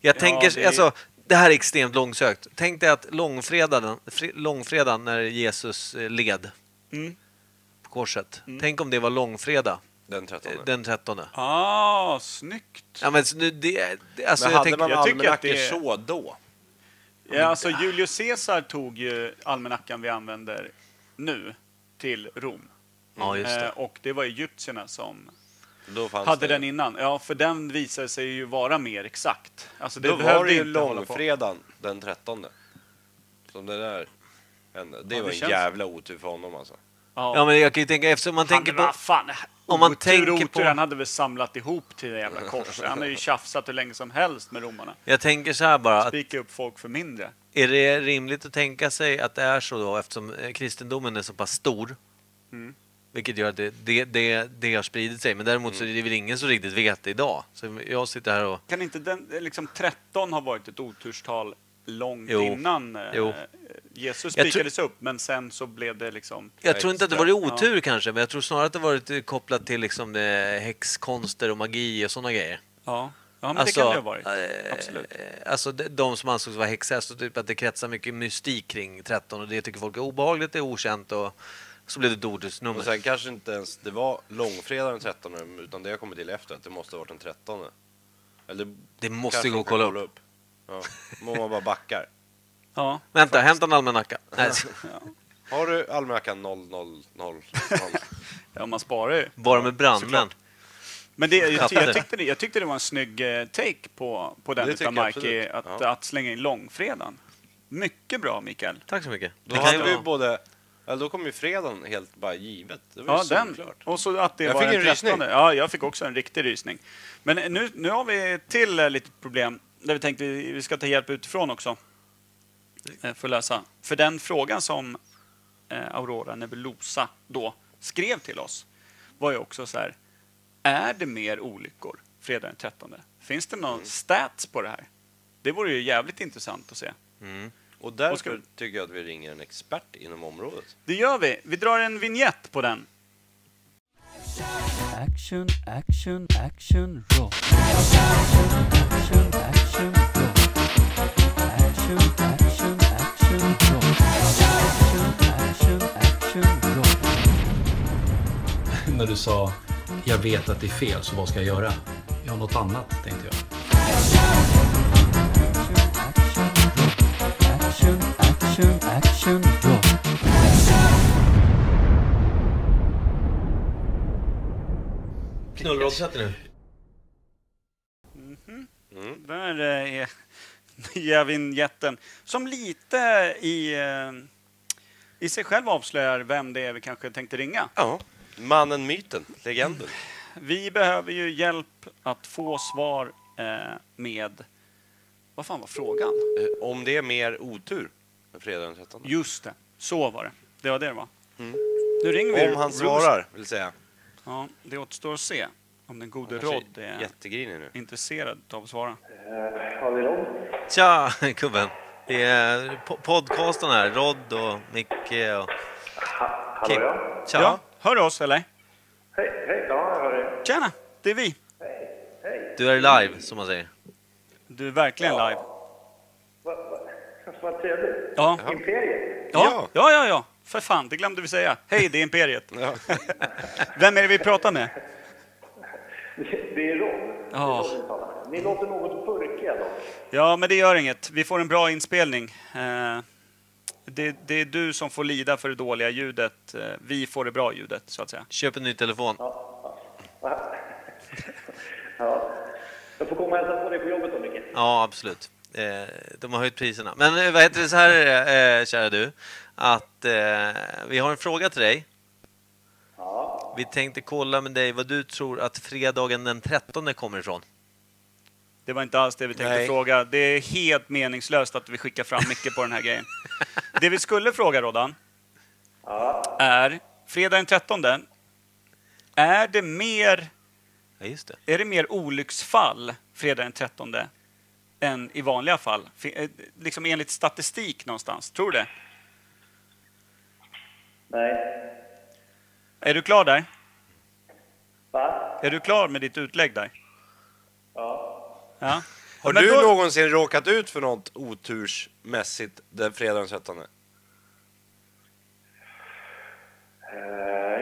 Jag
Ja,
tänker,
det är-
alltså, det här är extremt långsökt. Tänk dig att långfredagen, fri- långfredagen när Jesus eh, led
Mm.
på korset. Tänk om det var långfredag,
Den
eh,
13.
den 13.
Ah, snyggt!
Ja, men så nu, det, det, alltså,
Men
jag
hade
tänker,
man
jag tycker att
almanackor
det är-
så då?
Ja, alltså Julius Caesar tog ju almanackan vi använder nu till Rom.
Ja, just
Eh,
det.
och det var egyptierna som
Då fanns
hade
det.
den innan. Ja, för den visade sig ju vara mer exakt. Alltså, det
Då
behövde
var det ju
inte hålla på.
långfredagen den 13. Som det där hände. Det
Ja,
var
det
en
känns-
jävla otur för honom alltså.
Ja, men jag kan ju tänka, eftersom man tänker
han,
på...
vad Fan,
om man
otur,
tänker
otur,
på-
Han hade väl samlat ihop till det jävla korset. Han har ju tjafsat hur länge som helst med romarna.
Jag tänker så här bara, att
Spika upp folk för mindre.
är det rimligt att tänka sig att det är så då eftersom eh, kristendomen är så pass stor?
Mm.
Vilket gör att det, det, det, det har spridit sig. Men däremot
Mm.
så är det väl ingen som riktigt vet det idag. Så jag sitter här och...
Kan inte den, liksom 13 har varit ett oturstal långt
Jo.
innan eh,
Jo.
Jesus
Jag tror-
spikades upp, men sen så blev det liksom...
Jag tror inte att det
Extra.
varit otur kanske, men jag tror snarare att det varit eh, kopplat till liksom eh, häxkonster och magi och sådana grejer.
Ja, ja men
Alltså,
det kan det ha varit.
eh,
Absolut.
Eh, Alltså de, de som ansågs vara häxor, så typ att det kretsar mycket mystik kring 13 och det tycker folk är obehagligt, det är okänt och så blev det ett
Och
ordensnummer.
sen kanske inte ens det var långfredagen den 13 utan det jag kommer till efter att det måste ha varit den 13. Eller
Det måste
kanske
gå
man
att
kan
kolla upp.
Ja. Må man bara backar.
Ja.
Vänta, hämta en almanacka. Nej,
Har du almanackan 000?
ja, man sparar ju.
bara med brandmän.
Men det, jag, ty- jag,
Fattar.
tyckte det, jag tyckte det var en snygg eh, take på, på den
Det
utav
tycker jag
Mikey, att,
absolut. Ja.
att slänga in långfredagen. Mycket bra, Mikael.
Tack så mycket.
Då
Det kan ju
hade vi ju
vara-
både... Eller då kom ju fredagen helt bara givet. Det var
Ja,
ju
den.
solklart.
Och så att det
Jag
var
fick
den
en rysning.
13. Ja, jag fick också en riktig rysning. Men eh, nu, nu har vi till eh, lite problem där vi tänkte vi vi ska ta hjälp utifrån också. eh, För att lösa. För den frågan som eh, Aurora Nebulosa då skrev till oss var ju också så här. Är det mer olyckor fredag den 13? Finns det någon stats på det här? Det vore ju jävligt intressant att se.
Och
Och ska
därför
vi-
tycker jag att vi ringer en expert inom området.
Det gör vi. Vi drar en vignett på den.
Action, action, action, roll. Action, action, roll. Action, action, action, roll. Action, action, action, roll.
när du sa jag vet att det är fel, så vad ska jag göra? Ja, något annat, tänkte jag.
Action, action, action, action, roll.
Knullroddsätter nu.
Där eh, är nya vignetten som lite i, eh, i sig själv avslöjar vem det är vi kanske tänkte ringa.
Ja. Mannen, myten, legenden.
Vi behöver ju hjälp att få svar eh, med... Vad fan var frågan?
Eh, Om det är mer otur än fredag den 13.
Just det, så var det. Det var det det var. Nu ringer vi.
Mm. Om han
Roost-
svarar, vill säga.
Ja, det återstår att se om den gode
Kanske
Rod är
Jättegrinig nu.
intresserad av att svara.
Tja, gubben. Det är po- podcasten här. Rod och Micke och... Hallå, ja. Tja.
Ja, hör du oss eller? Hej, hej, ja, jag hör dig. Tjena, det är vi.
Du är live, som man säger.
Du är verkligen live.
Vad trevligt.
Ja.
Imperiet.
Ja, ja, ja, ja. För fan, det glömde vi säga. Hej, det är Imperiet.
Ja.
Vem är det vi pratar med?
Det är Ron.
Ja.
Ni låter något purkiga dock.
ja, men det gör inget. Vi får en bra inspelning. Eh, Det, det är du som får lida för det dåliga ljudet. Eh, Vi får det bra ljudet, så att säga.
Köp en ny telefon.
Jag får komma och hälsa på dig på jobbet då, Micke.
Ja, absolut. Eh, de har höjt priserna. Men eh, vad heter det så här, eh, kära du, att eh, vi har en fråga till dig. Vi tänkte kolla med dig vad du tror att fredagen den 13 kommer ifrån.
Det var inte alls det vi tänkte
Nej.
fråga. Det är helt meningslöst att vi skickar fram mycket på den här grejen. Det vi skulle fråga, Rodan, är fredag den 13. Är det mer,
Ja, just det.
är det mer olycksfall fredag den 13 än i vanliga fall? Fi- eh, Liksom enligt statistik någonstans, tror du det?
Nej.
Är du klar där?
Va?
Är du klar med ditt utlägg där?
Ja.
Ja.
Har
Men
du
då-
någonsin råkat ut för något otursmässigt den fredagen den 13?
Eh,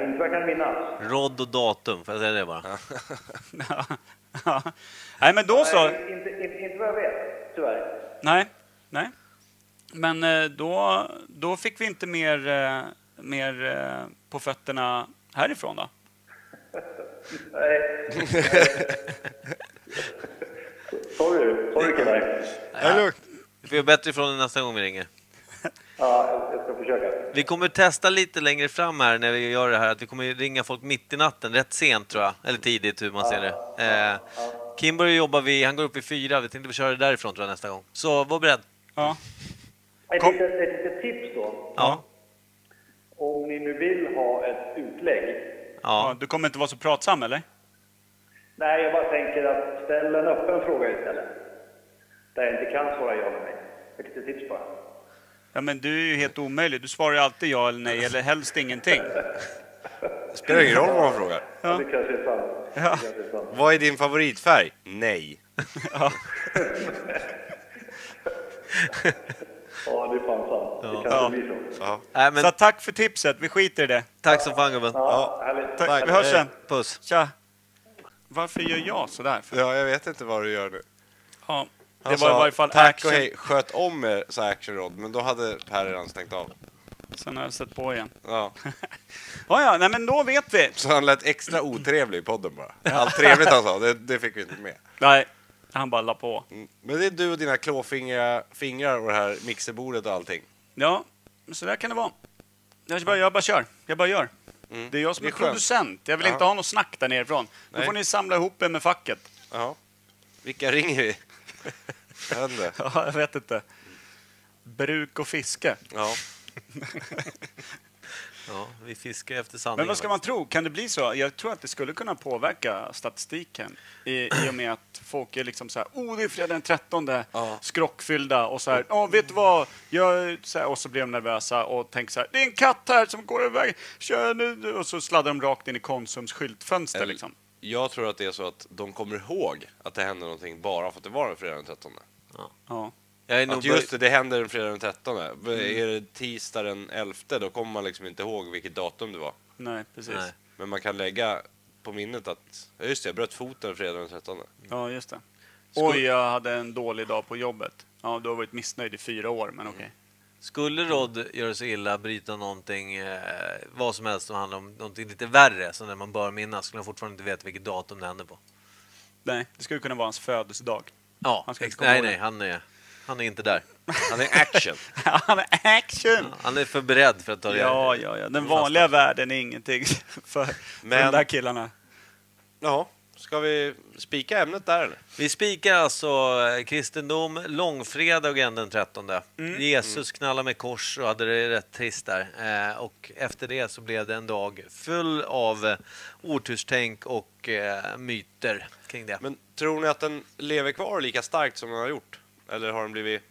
inte vad jag kan minnas.
Rodd och datum, får jag säga det bara?
Ja. Ja. Nej, men då så.
Nej, inte, inte, inte vad jag vet, tyvärr.
Nej, nej. Men eh, då, då fick vi inte mer, eh, mer eh, på fötterna härifrån då.
Nej. Sorry, sorry killar.
Ja. lugnt.
Vi gör bättre ifrån det nästa gång vi ringer.
Ja, jag- jag ska försöka.
Vi kommer testa lite längre fram här när vi gör det här, att vi kommer ringa folk mitt i natten, rätt sent tror jag, eller tidigt hur man ser det. Eh, Kim börjar jobba vid, han går upp vid fyra, vi tänkte vi köra det därifrån tror jag nästa gång. Så var beredd.
Ja.
Ett
Kom.
litet, ett litet tips då.
Ja.
Om ni nu vill ha ett utlägg.
Ja,
Ja.
du kommer inte vara så pratsam eller?
Nej, jag bara tänker att ställ en öppen fråga istället. Där jag inte kan svara ja eller nej. Ett litet tips bara.
Ja, men du är ju helt omöjlig. Du svarar ju alltid ja eller nej eller helst ingenting.
Det spelar ingen roll vad man frågar.
Ja.
Det kanske är sant.
Ja.
Det kanske är sant.
Vad är din favoritfärg? Nej.
Ja, det är fan sant. Det kanske
Ja.
blir så.
Ja.
Nej, men
Så tack för tipset. Vi skiter i det.
tack som fan gubben. Eh,
Ja, härligt.
Tack.
Tack.
Vi hörs sen.
Puss.
Tja. Varför gör jag sådär? För?
ja, jag vet inte vad du gör nu.
Ja. Det
Han
var
sa,
i varje fall
tack
action.
och hej, sköt om er, sa Action Rod, men då hade Per redan stängt av.
Sen har jag sett på igen.
Ja.
Ja, ja, nej men då vet vi.
Så han lät extra otrevlig i podden bara. Allt trevligt han sa, det, det fick vi inte med.
Nej, han bara la på.
Mm. Men det är du och dina klåfingriga fingrar och det här mixerbordet och allting.
Ja, så där kan det vara. Jag bara, jag bara kör. Jag bara gör. Det är jag
Mm. Det
som är,
är skönt.
producent. Jag vill
Ja.
inte ha något snack där nerifrån. Då
Nej.
får ni samla ihop er med facket.
Ja. Vilka ringer vi? Jag vet inte.
Ja, jag vet inte. Bruk och fiske.
Ja.
Ja, vi fiskar efter sanningen.
Men vad ska man tro? Kan det bli så? Jag tror att det skulle kunna påverka statistiken i, i och med att folk är liksom så här, oh, det är fredag den 13,
Ja.
skrockfyllda och så här, ja, vet du vad? Jag, så här, och så blir de nervösa och tänker så här, det är en katt här som går iväg, kör nu! Och så sladdar de rakt in i Konsums skyltfönster
Eller-
liksom.
Jag tror att det är så att de kommer ihåg att det hände någonting bara för att det var en fredag den 13.
Ja.
Jag är nog
Att just det, det händer en fredag den 13. Är det tisdag den 11 då kommer man liksom inte ihåg vilket datum det var.
Nej, precis.
Nej.
Men man kan lägga på minnet att, ja, just det, jag bröt foten fredag den 13.
Ja, just det. Oj, jag hade en dålig dag på jobbet. Ja, du har varit missnöjd i fyra år, men okej.
Skulle Rod göra sig illa, bryta någonting, eh, vad som helst som handlar om någonting lite värre, som när man bör minnas, skulle han fortfarande inte veta vilket datum det hände på.
Nej, det skulle kunna vara hans födelsedag.
Ja,
Han ska
ex-
inte komma
nej,
ihåg
nej,
det.
han är, han är inte där.
Han är action!
Han är action!
Han är för beredd för att ta det.
Ja, ja, ja. Den vanliga världen är ingenting för
Men-
de där killarna.
Ja, ska vi spika ämnet där eller?
Vi spikar alltså eh, kristendom, långfredagen den 13.
Mm.
Jesus knallade med kors och hade det rätt trist där. Eh, Och efter det så blev det en dag full av eh, oturstänk och eh, myter kring det.
Men tror ni att den lever kvar lika starkt som den har gjort? Eller har den blivit...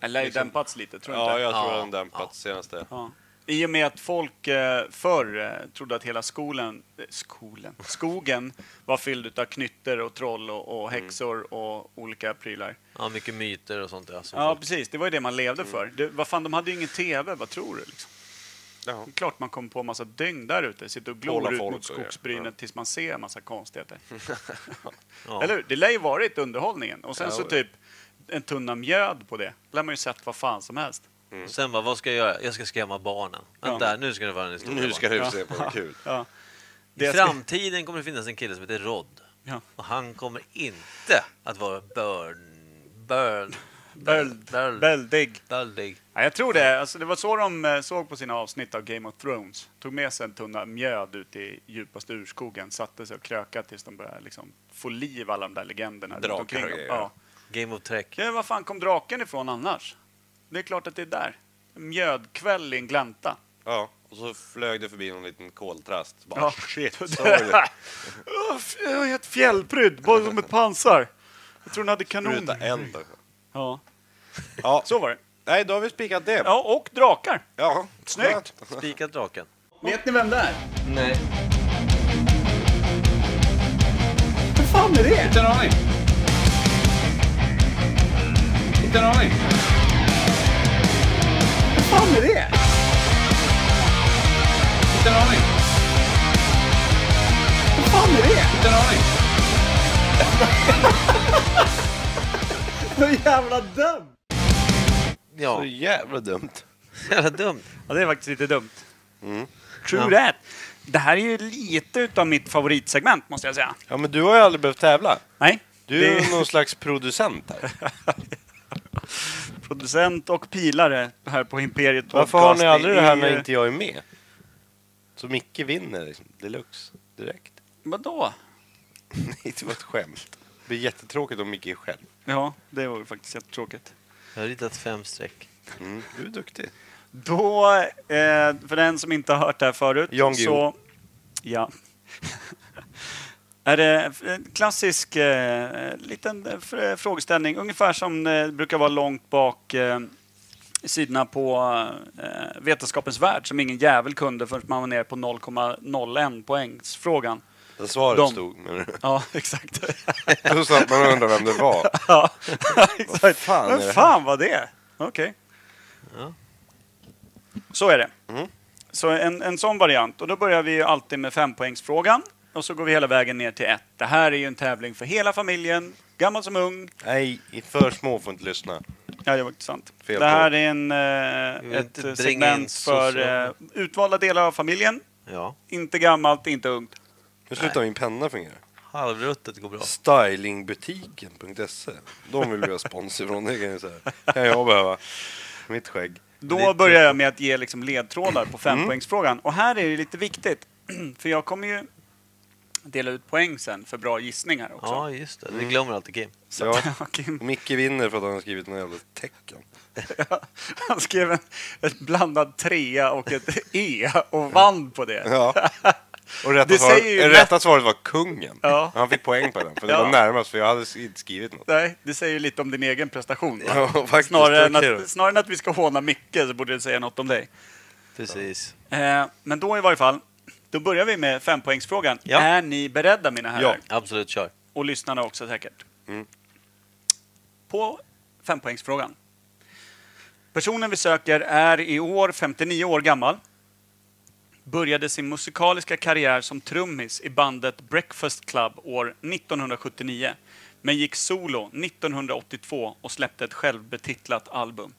Den lär ju
Liksom-
dämpats lite, tror du
Ja,
inte?
jag tror
Ja,
den dämpats senaste.
Ja. I och med att folk eh, förr eh, trodde att hela skolan, eh, skolan, skogen var fylld utav knytter och troll och,
Mm.
och häxor och olika prylar.
Ja, mycket myter och sånt där. som
Ja,
folk-
precis. Det var ju det man levde
Mm.
för. Det, vad fan, de hade ju ingen TV, vad tror du? Liksom?
Ja.
Det är klart man kom på en massa dygn där ute, sitter och glor
Hålla
ut
folk
mot
och grejer.
skogsbrynet
Ja.
tills man ser en massa konstigheter.
Ja.
Eller hur? Det lär ju varit underhållningen. Och sen
Ja,
så
ja.
typ en tunna mjöd på det. lär man ju sett vad fan som helst.
Och Mm. sen bara, vad ska jag göra? Jag ska skrämma barnen. Vänta, nu ska det vara en historia.
Nu ska
bara.
du se på något kul.
Ja. Det
I
jag ska-
framtiden kommer det finnas en kille som heter Rod.
Ja.
Och han kommer inte att vara börn... Börn...
Böld.
Böld.
Böldig.
Böldig.
Ja, jag tror det. Alltså, det var så de eh, såg på sina avsnitt av Game of Thrones. Tog med sig en tunna mjöd ut i djupaste urskogen, satte sig och krökade tills de började liksom, få liv alla de där legenderna. runt
Drakar
omkring
och
dem.
grejer,
Ja.
Game of Trek.
Ja, var fan kom draken ifrån annars? Det är klart att det är där. Mjödkväll i en glänta.
Ja, och så flög det förbi någon liten koltrast. Bara,
Ja.
shit, så var det.
Åh, f- Jag är ett fjällprydd, bara som ett pansar. Jag tror den hade
Spruta
kanon.
eld.
Ja.
Ja,
Så var det.
nej, då har vi spikat det.
Ja, och drakar.
Ja.
Snyggt.
Spika draken.
Vet ni vem det är?
Nej.
Vad fan är det?
Inte en aning. Inte en aning.
Vad fan är det?
Inte en aning.
Vad fan är det?
Inte en aning.
Så jävla dumt!
Ja,
jävla dumt.
jävla dumt.
Ja, det är faktiskt lite dumt. Mm. True that. Det här är ju lite utav mitt favoritsegment, måste jag säga.
Ja, men du har ju aldrig behövt tävla.
Nej?
Du är
det
ju någon slags producent här.
producent och pilare här på Imperiet
Varför har ni
Podcast.
aldrig det här
är
när
ju-
inte jag är med? Så Micke vinner liksom, deluxe direkt.
Vadå?
Nej, det var ett skämt. Det blir jättetråkigt om Micke är själv.
Ja, det var ju faktiskt jättetråkigt.
Jag har ritat fem streck.
Mm, du är duktig.
Då, eh, för den som inte har hört det här förut
Jan Guillou.
så... Ja. är det en klassisk eh, liten eh, fr- frågeställning, ungefär som det brukar vara långt bak eh, i sidorna på eh, Vetenskapens Värld som ingen jävel kunde förrän man var nere på 0,01 poängsfrågan.
Där svaret
De-
stod. Men
Ja, exakt.
då satt man och undrade vem det var.
ja, exakt.
Vad fan är det
Men
här?
fan vad det är. Okej.
Ja.
Så är det.
Mm.
Så en, en sån variant. Och då börjar vi ju alltid med fempoängsfrågan. Och så går vi hela vägen ner till ett. Det här är ju en tävling för hela familjen. Gammal som ung.
Nej, för små får inte lyssna.
Ja, det var inte sant.
Fel
det här
på. Mm,
är en,
vill
eh,
inte
ett
bringa in
segment
social-
för eh, utvalda delar av familjen.
Ja.
Inte gammalt, inte ungt.
Nu slutar min penna fungera.
Halvruttet går bra.
Stylingbutiken.se. E. De vill vi ha sponsor från. Det kan jag säga. kan jag behöva. Mitt skägg.
Då börjar jag med att ge liksom ledtrådar
Mm.
på fempoängsfrågan. Och här är det lite viktigt, för jag kommer ju dela ut poäng sen för bra gissningar också.
Ja, just det. Det glömmer alltid Kim.
Ja.
Kim,
Och Micke vinner för att han har skrivit några jävla tecken.
han skrev en, en blandad trea och ett E och vann på det.
Ja. Och rätta,
Det
svaret,
säger ju
rätta svaret var kungen.
Ja.
Han fick poäng på den, för det
Ja.
var närmast, för jag hade inte skrivit något.
Nej, det säger ju lite om din egen prestation. va?
Ja, faktiskt.
snarare, än
Okej då.
att, snarare än att vi ska håna Micke så borde det säga något om dig.
Precis.
Eh, men då i varje fall, då börjar vi med fempoängsfrågan.
Ja.
Är ni beredda mina herrar?
Ja.
Absolut, kör.
Och lyssnarna också säkert.
Mm.
På fempoängsfrågan. Personen vi söker är i år 59 år gammal. Började sin musikaliska karriär som trummis i bandet Breakfast Club år 1979. Men gick solo 1982 och släppte ett självbetitlat album.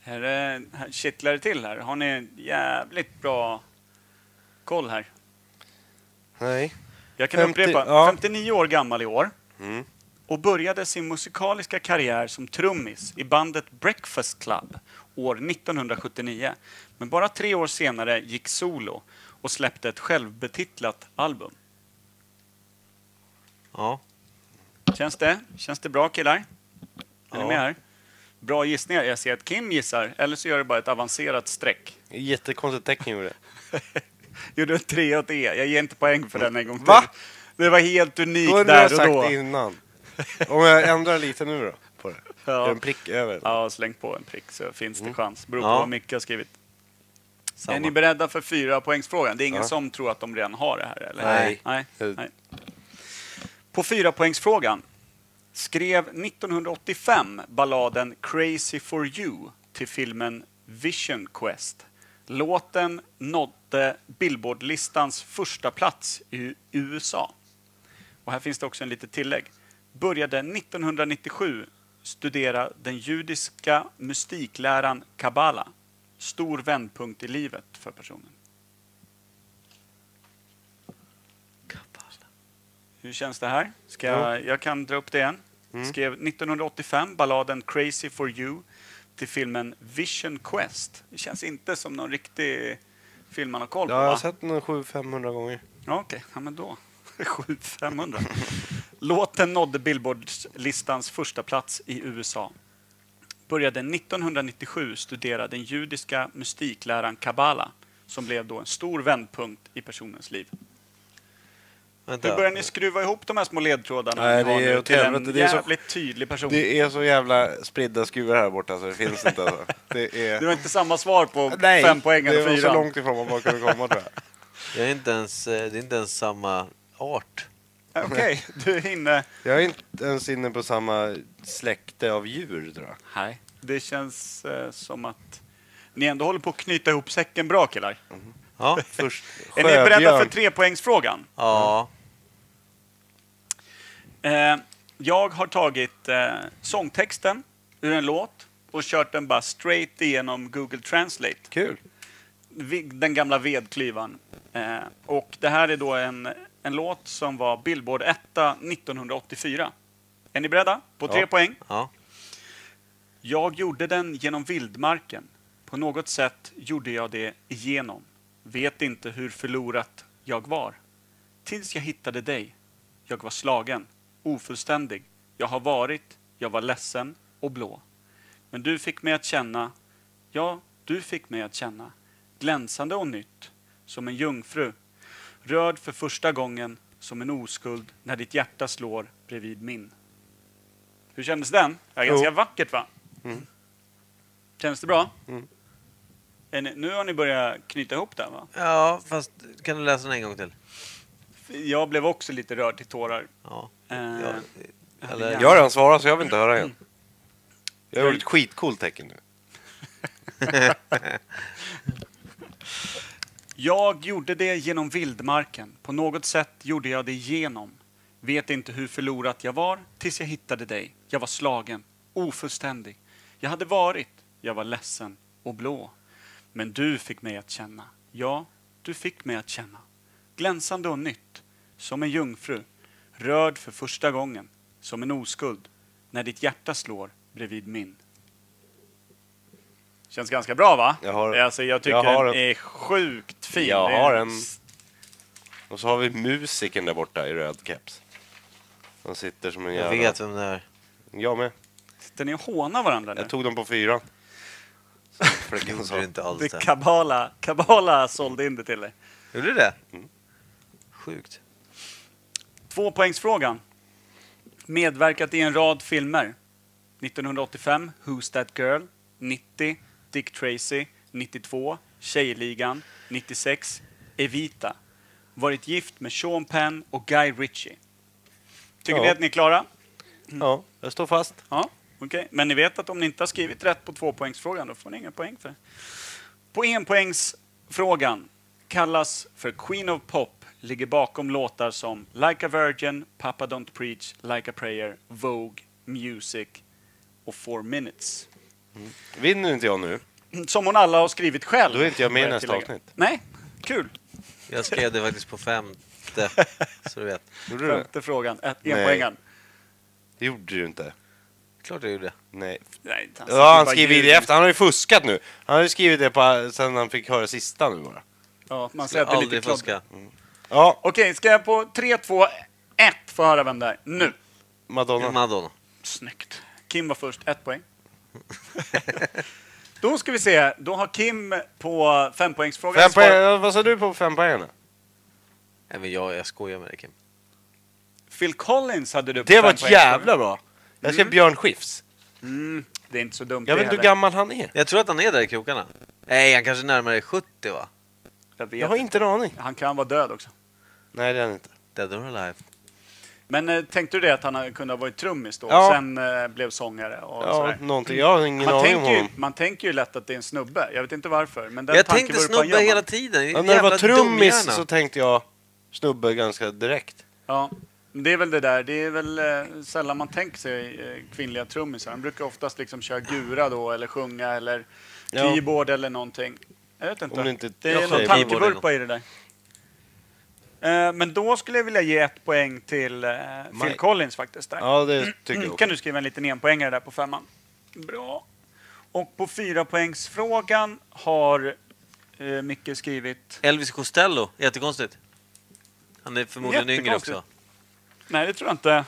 Här, är- här kittlar det till här. Har ni jävligt bra koll här?
Nej.
Jag kan
50,
upprepa.
ja.
59 år gammal i år.
Mm.
Och började sin musikaliska karriär som trummis i bandet Breakfast Club år 1979. Men bara tre år senare gick solo och släppte ett självbetitlat album.
Ja.
Känns det? Känns det bra killar? Är ni
Ja.
med här? Bra gissningar. Jag ser att Kim gissar, eller så gör det bara ett avancerat streck.
Jättekonstigt tecken gjorde det.
Gjorde en tre åt E. Jag ger inte poäng för den en gång till.
Va?
Det var helt unikt
Då hade
där
jag
och
sagt
då.
det innan. Om jag ändrar lite nu då, på det.
Ja.
Gör en prick över.
Ja, släng på en prick så finns
Mm.
det chans. Beror på
Ja.
vad Micke har skrivit.
Samma.
Är ni beredda för fyra poängsfrågan? Det är ingen
Ja.
som tror att de redan har det här, eller?
Nej.
Nej.
Det-
Nej. På fyra poängsfrågan skrev 1985 balladen Crazy for you till filmen Vision Quest. Låten nådde Billboardlistans första plats i USA. Och här finns det också en litet tillägg. Började 1997 studera den judiska mystikläran Kabbala. Stor vändpunkt i livet för personen. Hur känns det här? Ska jag, jag kan dra upp det igen.
Mm.
Skrev 1985 balladen Crazy for you till filmen Vision Quest. Det känns inte som någon riktig film man har koll på,
Ja, jag har
va?
sett den 700-500 gånger.
Ja, okej. Ja, men då. 7500. Låten nådde Billboardlistans första plats i USA. Började 1997 studera den judiska mystikläraren Kabbala som blev då en stor vändpunkt i personens liv.
Vänta.
Hur börjar ni skruva ihop de här små ledtrådarna
Nej,
ni har
det är
nu
åt
till
helvete.
en
Det är så-
jävligt tydlig person? Det...
Det är så jävla spridda skruvar här borta så det finns inte alltså. Det är...
var inte samma svar på
Nej,
fem poäng
det
eller
var så
fyra.
långt ifrån man bara kunde komma tror jag.
Jag är inte ens, eh, det är inte ens samma art.
Okej, du är inne.
Jag är inte ens inne på samma släkte av djur tror jag.
Nej. Det känns eh, som att ni ändå håller på att knyta ihop säcken bra killar.
Ja.
Först
Är ni beredda för
sjöbjörn.
trepoängsfrågan?
ja.
Eh, jag har tagit eh, sångtexten ur en låt och kört den bara straight igenom Google Translate.
Kul.
Vi- Den gamla vedklyvan. Eh, och det här är då en, en låt som var Billboard 1 1984. Är ni beredda? På tre
Ja.
poäng.
Ja.
Jag gjorde den genom vildmarken. På något sätt gjorde jag det igenom. Vet inte hur förlorat jag var. Tills jag hittade dig. Jag var slagen, ofullständig. Jag har varit, jag var ledsen och blå. Men du fick mig att känna, ja, du fick mig att känna, glänsande och nytt, som en jungfru. Rörd för första gången, som en oskuld, när ditt hjärta slår bredvid min. Hur kändes den? Ja, ganska vackert, va? Känns det bra? Är ni- Nu har ni börjat knyta ihop den, va?
Ja, fast kan du läsa den en gång till?
Jag blev också lite rörd till tårar.
Ja.
Eh,
ja.
det
Eller,
är
Jag har redan svarat så jag vill inte höra igen. Jag gjorde ett skitcoolt tecken nu.
Jag gjorde det genom vildmarken. På något sätt gjorde jag det genom. Vet inte hur förlorat jag var tills jag hittade dig. Jag var slagen, ofullständig. Jag hade varit, jag var ledsen och blå. Men du fick mig att känna. Ja, du fick mig att känna. Glänsande och nytt. Som en jungfru. Rörd för första gången. Som en oskuld. När ditt hjärta slår bredvid min. Känns ganska bra va?
Jag har-
alltså, jag tycker
jag har
den
en-
är sjukt fin.
Jag
Det är
har en- Och så har vi musiken där borta i röd keps. Han sitter som en
jag
jävla...
vet vem det är.
Jag med.
Sitter ni och hånar varandra nu?
Jag tog dem på fyran. Så
Det
Fläcken
gjorde du
sa.
inte alls
Det
det.
är Kabbala. Kabbala sålde in det till dig.
Gjorde du det?
Mm.
Sjukt.
Tvåpoängsfrågan. Medverkat i en rad filmer. 1985, Who's That Girl? 90, Dick Tracy. 92, Tjejligan. 96, Evita. Varit gift med Sean Penn och Guy Ritchie. Tycker
Ja.
ni att ni är klara?
Ja, jag står fast.
Ja, okej. Men ni vet att om ni inte har skrivit rätt på tvåpoängsfrågan, då får ni inga poäng för det. På enpoängsfrågan, kallas för Queen of Pop, ligger bakom låtar som Like a Virgin, Papa Don't Preach, Like a Prayer, Vogue, Music och Four Minutes.
Vinner inte jag nu,
Som hon alla har skrivit själv.
då är inte jag med i
bör jag
nästa
tillägga.
avsnitt.
Nej, kul.
Jag skrev det faktiskt på femte. Så du vet.
Gjorde du det?
Femte frågan, ett- enpoängaren.
Det gjorde du inte.
Klart jag gjorde.
Nej.
Nej, inte alls.
Ja, han
Bara
skriver
ljug.
det efter. Han har ju fuskat nu. Han har ju skrivit det på, sen han fick höra sista nu bara.
Ja, man säger
Jag
att det är lite
aldrig
klart.
fuska.
Ja,
Okej, ska jag på 3, 2, 1 få höra vem det är? Nu!
Madonna.
Madonna.
Snyggt. Kim var först, ett poäng. då ska vi se, då har Kim på fempoängsfrågan
Fem
svarat
poäng. Vad sa du på fem poängen?
Nej, men jag, jag skojar med dig Kim.
Phil Collins hade du på
Det var ett
fempoängsfrågan.
jävla bra. Jag skrev Björn Skifs.
Mm, Det är inte så dumt
Jag
det
vet inte hur
heller.
gammal han Mm. är.
Jag tror att han är där i krokarna. Nej, han kanske närmare 70 va?
Jag vet
Jag har
inte.
inte en aning.
Han kan vara död också.
Nej, det är han inte.
Dead or alive.
Men eh, tänkte du det att han hade- kunde ha varit trummis då
Ja.
och sen eh, blev sångare och
Ja,
sådär?
någonting. Jag har ingen
Man
aning om
tänker, ju,
honom.
man tänker ju lätt att det är en snubbe. Jag vet inte varför. Men den
Jag
tanken
tänkte
vurpan gör
snubbe
man.
hela tiden.
Ja, när det
Jävla
var trummis
dumhjärna.
så tänkte jag snubbe ganska direkt.
Ja, men det är väl det där. Det är väl eh, sällan man tänker sig eh, kvinnliga trummisar. De brukar oftast liksom köra gura då, eller sjunga, eller
Ja.
keyboard eller någonting. Jag vet inte.
Om det inte-
det
jag
är
säger
någon
keyboard
tankevurpa i det där. Eh, Men då skulle jag vilja ge ett poäng till eh, Phil
Mike.
Collins faktiskt. Där.
Ja, det tycker jag
Kan
också.
du skriva en liten enpoängare där på femman? Bra. Och på fyra poängsfrågan har eh, Micke skrivit...
Elvis Costello, jättekonstigt. Han är förmodligen yngre
Jättekonstigt.
också.
Nej, det tror jag inte.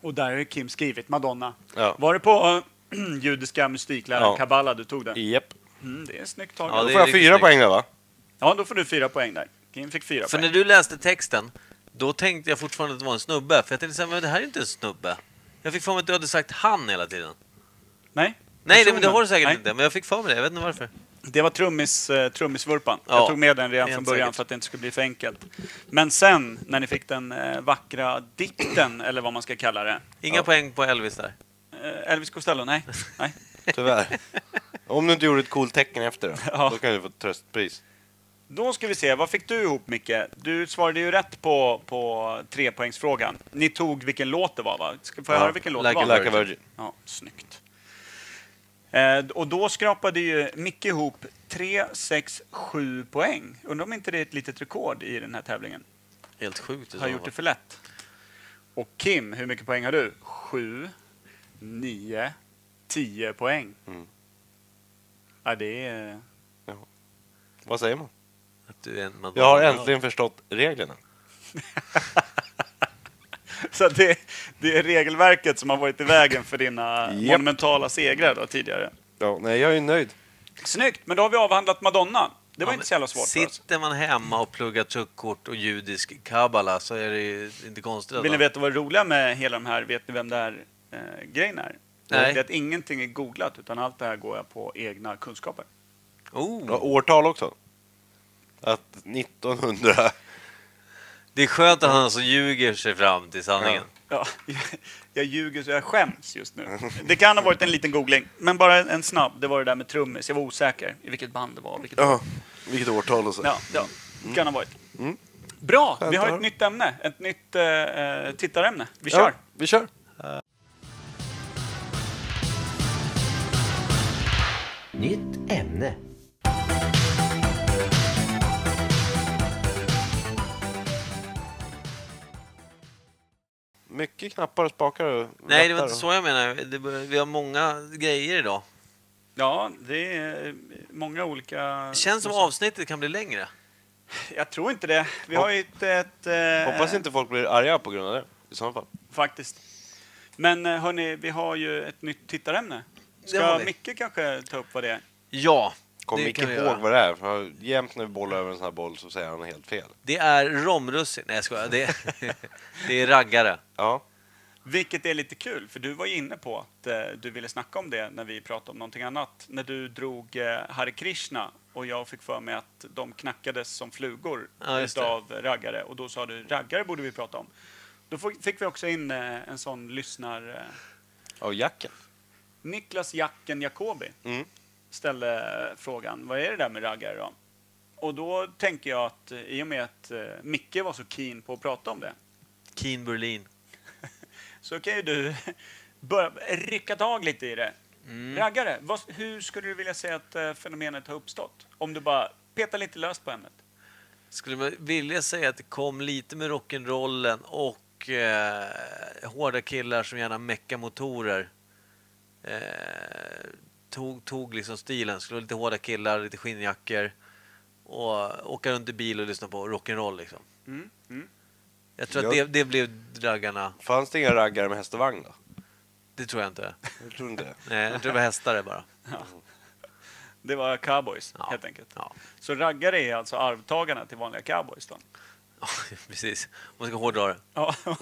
Och där har Kim skrivit Madonna.
Ja.
Var det på eh, judiska mystikläraren
Ja.
Kabbala du tog den?
Japp.
Mm, det är snyggt taget.
Ja,
Då
det
får
är
jag
riktigt
fyra
snyggt.
poäng där va?
Ja, då får du fyra poäng där. Kim fick fyra
För
poäng.
när du läste texten, då tänkte jag fortfarande att det var en snubbe. För jag tänkte såhär, men det här är inte en snubbe. Jag fick för mig att du hade sagt han hela tiden.
Nej?
Nej, det,
Personen.
men det har du säkert
Nej.
inte. Men jag fick för mig det. Jag vet inte varför.
Det var trummis, eh, trummisvurpan. Jag
Ja,
tog med den redan
helt
från början
säkert.
för att det inte skulle bli för enkelt. Men sen, när ni fick den eh, vackra dikten, eller vad man ska kalla det.
Inga poäng på Elvis där.
Eh, Elvis Costello? Nej. nej.
Tyvärr. Om du inte gjorde ett coolt tecken efter då,
Ja.
då kan du få ett tröstpris.
Då ska vi se, vad fick du ihop Micke? Du svarade ju rätt på, på trepoängsfrågan. Ni tog vilken låt det var va? Ska, får jag
Ja,
höra vilken låt
Like
det
a
var?
Like a Virgin.
Ja, snyggt. Eh, och då skrapade ju Micke ihop 3, 6, 7 poäng. Undrar om inte det är ett litet rekord i den här tävlingen.
Helt sjukt. i
har
så
gjort det
fall.
för lätt. Och Kim, hur mycket poäng har du? 7, 9, 10 poäng.
Mm.
Ja, det är...
Vad säger man?
Att du är en Madonna.
Jag har äntligen förstått reglerna.
Så det, det är regelverket som har varit i vägen för dina
Japp.
monumentala segrar då, tidigare.
Ja, nej, jag är nöjd.
Snyggt, men då har vi avhandlat Madonna. Det var
Ja,
inte så jävla svårt för oss.
Sitter man hemma och pluggar truckkort och judisk kabbala så är det ju inte konstigt. att
Vill ni
man-
veta vad det roliga med hela de här, vet ni vem det här eh, grejen är?
Nej.
Det är att ingenting är googlat, utan allt det här går jag på egna kunskaper.
Ja,
Oh,
årtal också. Att 1900...
det är skönt att han så ljuger sig fram till sanningen.
Ja, jag ljuger så jag skäms just nu. Det kan ha varit en liten googling, men bara en snabb. Det var det där med trummis. Jag var osäker i vilket band det var. Vilket...
Ja, vilket årtal och så.
Ja, ja,
Mm.
kan ha varit. Bra! Vi har ett nytt ämne. Ett nytt eh, eh, tittarämne. Vi kör!
vi kör.
Nytt ämne.
Mycket knappar och spakar och
Nej, det var
rattar
inte
och-
så jag menar. Det, vi har många grejer idag.
Ja, det är eh, många olika...
Det känns
Mm.
som avsnittet kan bli längre.
Jag tror inte det. Vi har ju ett... ett eh,
Hoppas inte folk blir arga på grund av det. I så fall.
Faktiskt. Men eh, hörni, vi har ju ett nytt tittarämne.
har
Ska
vi.
Micke kanske ta upp vad det är?
Ja,
Kom
det
inte
kan vi
ihåg
göra.
vad det är. För jämt när vi bollar över en sån här boll så säger han helt fel.
Det är romrussin. Nej, jag skojar. Det, det är raggare.
Ja.
Vilket är lite kul, för du var ju inne på att eh, du ville snacka om det när vi pratade om någonting annat. När du drog eh, Hare Krishna och jag fick för mig att de knackades som flugor
Ja, just det.
utav raggare. Och då sa du raggare borde vi prata om. Då fick- fick vi också in eh, en sån lyssnar... Eh,
Av jacken.
Niklas Jacken Jacobi
Mm.
ställde frågan, vad är det där med raggare då? Och då tänker jag att eh, i och med att eh, Micke var så keen på att prata om det
Keen Berlin.
så kan ju du börja rycka tag lite i det. Raggare, vad, hur skulle du vilja säga att eh, fenomenet har uppstått? Om du bara petar lite löst på ämnet.
Skulle man vilja säga att det kom lite med rock'n'rollen och eh, hårda killar som gärna meckar motorer. Eh, tog, tog liksom stilen. Skulle vara lite hårda killar, lite skinnjackor. Och åka runt i bil och lyssna på rock'n'roll liksom.
Mm, mm.
Jag tror att det,
Jag-
det blev raggarna.
Fanns det inga raggare med häst och vagn då?
Det tror jag inte.
Jag tror inte det.
Nej, jag tror det var hästare bara.
Det var cowboys,
Ja.
helt enkelt.
Ja,
Så raggare är alltså arvtagarna till vanliga cowboys då?
Ja, precis. Om man ska hårdra det.
Ja,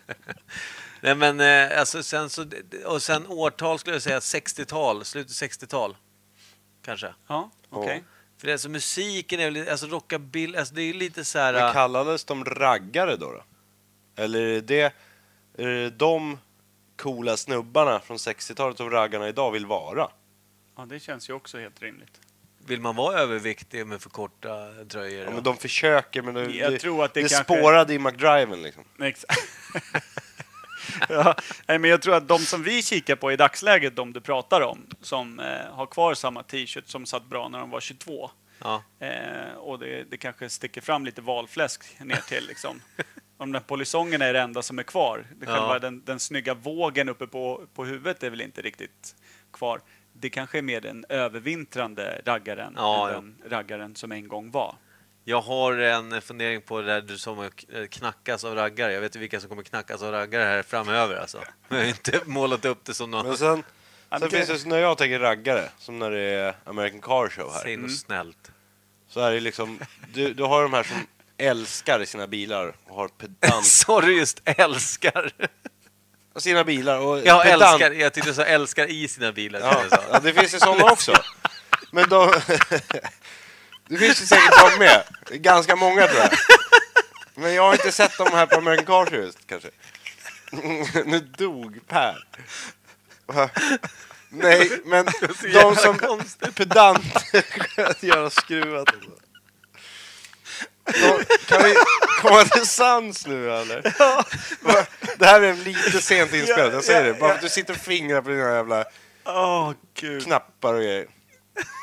Nej, men eh, alltså, sen så... Och sen årtal skulle jag säga 60-tal, slutet 60-tal. Kanske.
ja okej.
För det, är alltså, musiken är väl lite- alltså rockabilly, alltså det är lite så här...
Men kallades de raggare då? då? Eller är det, är det de coola snubbarna från 60-talet som raggarna idag vill vara?
Ja, det känns ju också helt rimligt.
Vill man vara överviktig med för korta tröjor?
Ja, men de försöker, men det,
Jag
det,
tror att det
det
kanske-
spårade i McDriven liksom.
Exakt. ja, nej, men jag tror att de som vi kikar på i dagsläget, de du pratar om, som eh, har kvar samma t-shirt som satt bra när de var 22,
Ja.
Eh, och det, det kanske sticker fram lite valfläsk ner till liksom. Om den polisongen är det enda som är kvar. Det
Ja.
själva den, den snygga vågen uppe på, på huvudet är väl inte riktigt kvar. Det kanske är mer den övervintrande raggaren
Ja,
än
ja.
den raggaren som en gång var.
Jag har en fundering på det där du sa om att k- eh, knackas av raggare. Jag vet ju vilka som kommer knackas av raggare här framöver alltså. Men jag har inte målat upp det som någon...
Men sen, sen
Okej.
finns det, så när jag tänker raggare, som när det är American Car Show här.
Säg något snällt.
Så är det liksom, du, du har de här som älskar sina bilar och har pedant...
Sa du just älskar?
Sina bilar och
Jag
pedant-
älskar, jag tyckte du sa älskar i sina bilar.
Ja,
tyckte jag du sa.
ja, det finns ju sådana också. Men de... Det finns ju säkert de med. Ganska många tror jag. Men jag har inte sett dem här på American Car Show just, kanske. Nu dog Per. Va? Nej, men de som pedanter sköt göra skruvat. och så. Då- Kan vi komma till sans nu eller? Va? Det här är lite sent inspelat, jag säger det. Bara för att du sitter och fingrar på dina jävla
Åh gud.
knappar och grejer.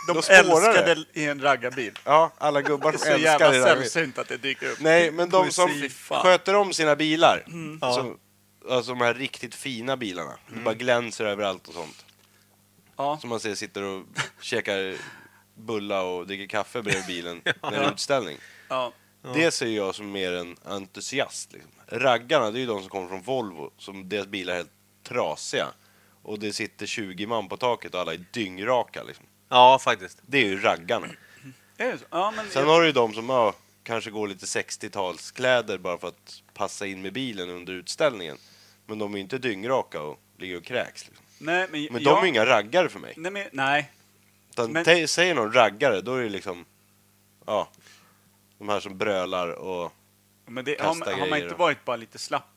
De
Då spårar
älskade i en raggarbil.
Ja, alla gubbar
Det är
som
så
älskar
jävla
det där.
sällsynt att det dyker upp.
Nej, men de som
Poesi, fan. Mm.
sköter om sina bilar. Som, alltså de här riktigt fina bilarna. De bara glänser överallt och sånt.
Ja.
Som man ser sitter och käkar bulla och dricker kaffe bredvid bilen när det är utställning.
Ja.
Det ser jag som mer en entusiast. Liksom. Raggarna, det är ju de som kommer från Volvo, som deras bilar är helt trasiga. Och det sitter 20 man på taket och alla är dyngraka. Liksom.
Ja, faktiskt.
Det är ju raggarna.
Är det så? Ja, men
Sen har du ju de som ja, kanske går lite 60-talskläder bara för att passa in med bilen under utställningen. Men de är ju inte dyngraka och ligger och kräks. Liksom.
nej, men,
Men
jag-
de är inga raggare för mig.
Nej, men, nej.
Utan
Men-
te- säger någon raggare, då är det liksom... Ja, de här som brölar och...
Men det,
Kasta
har, man- har man
grejer
inte
och-
varit bara lite slapp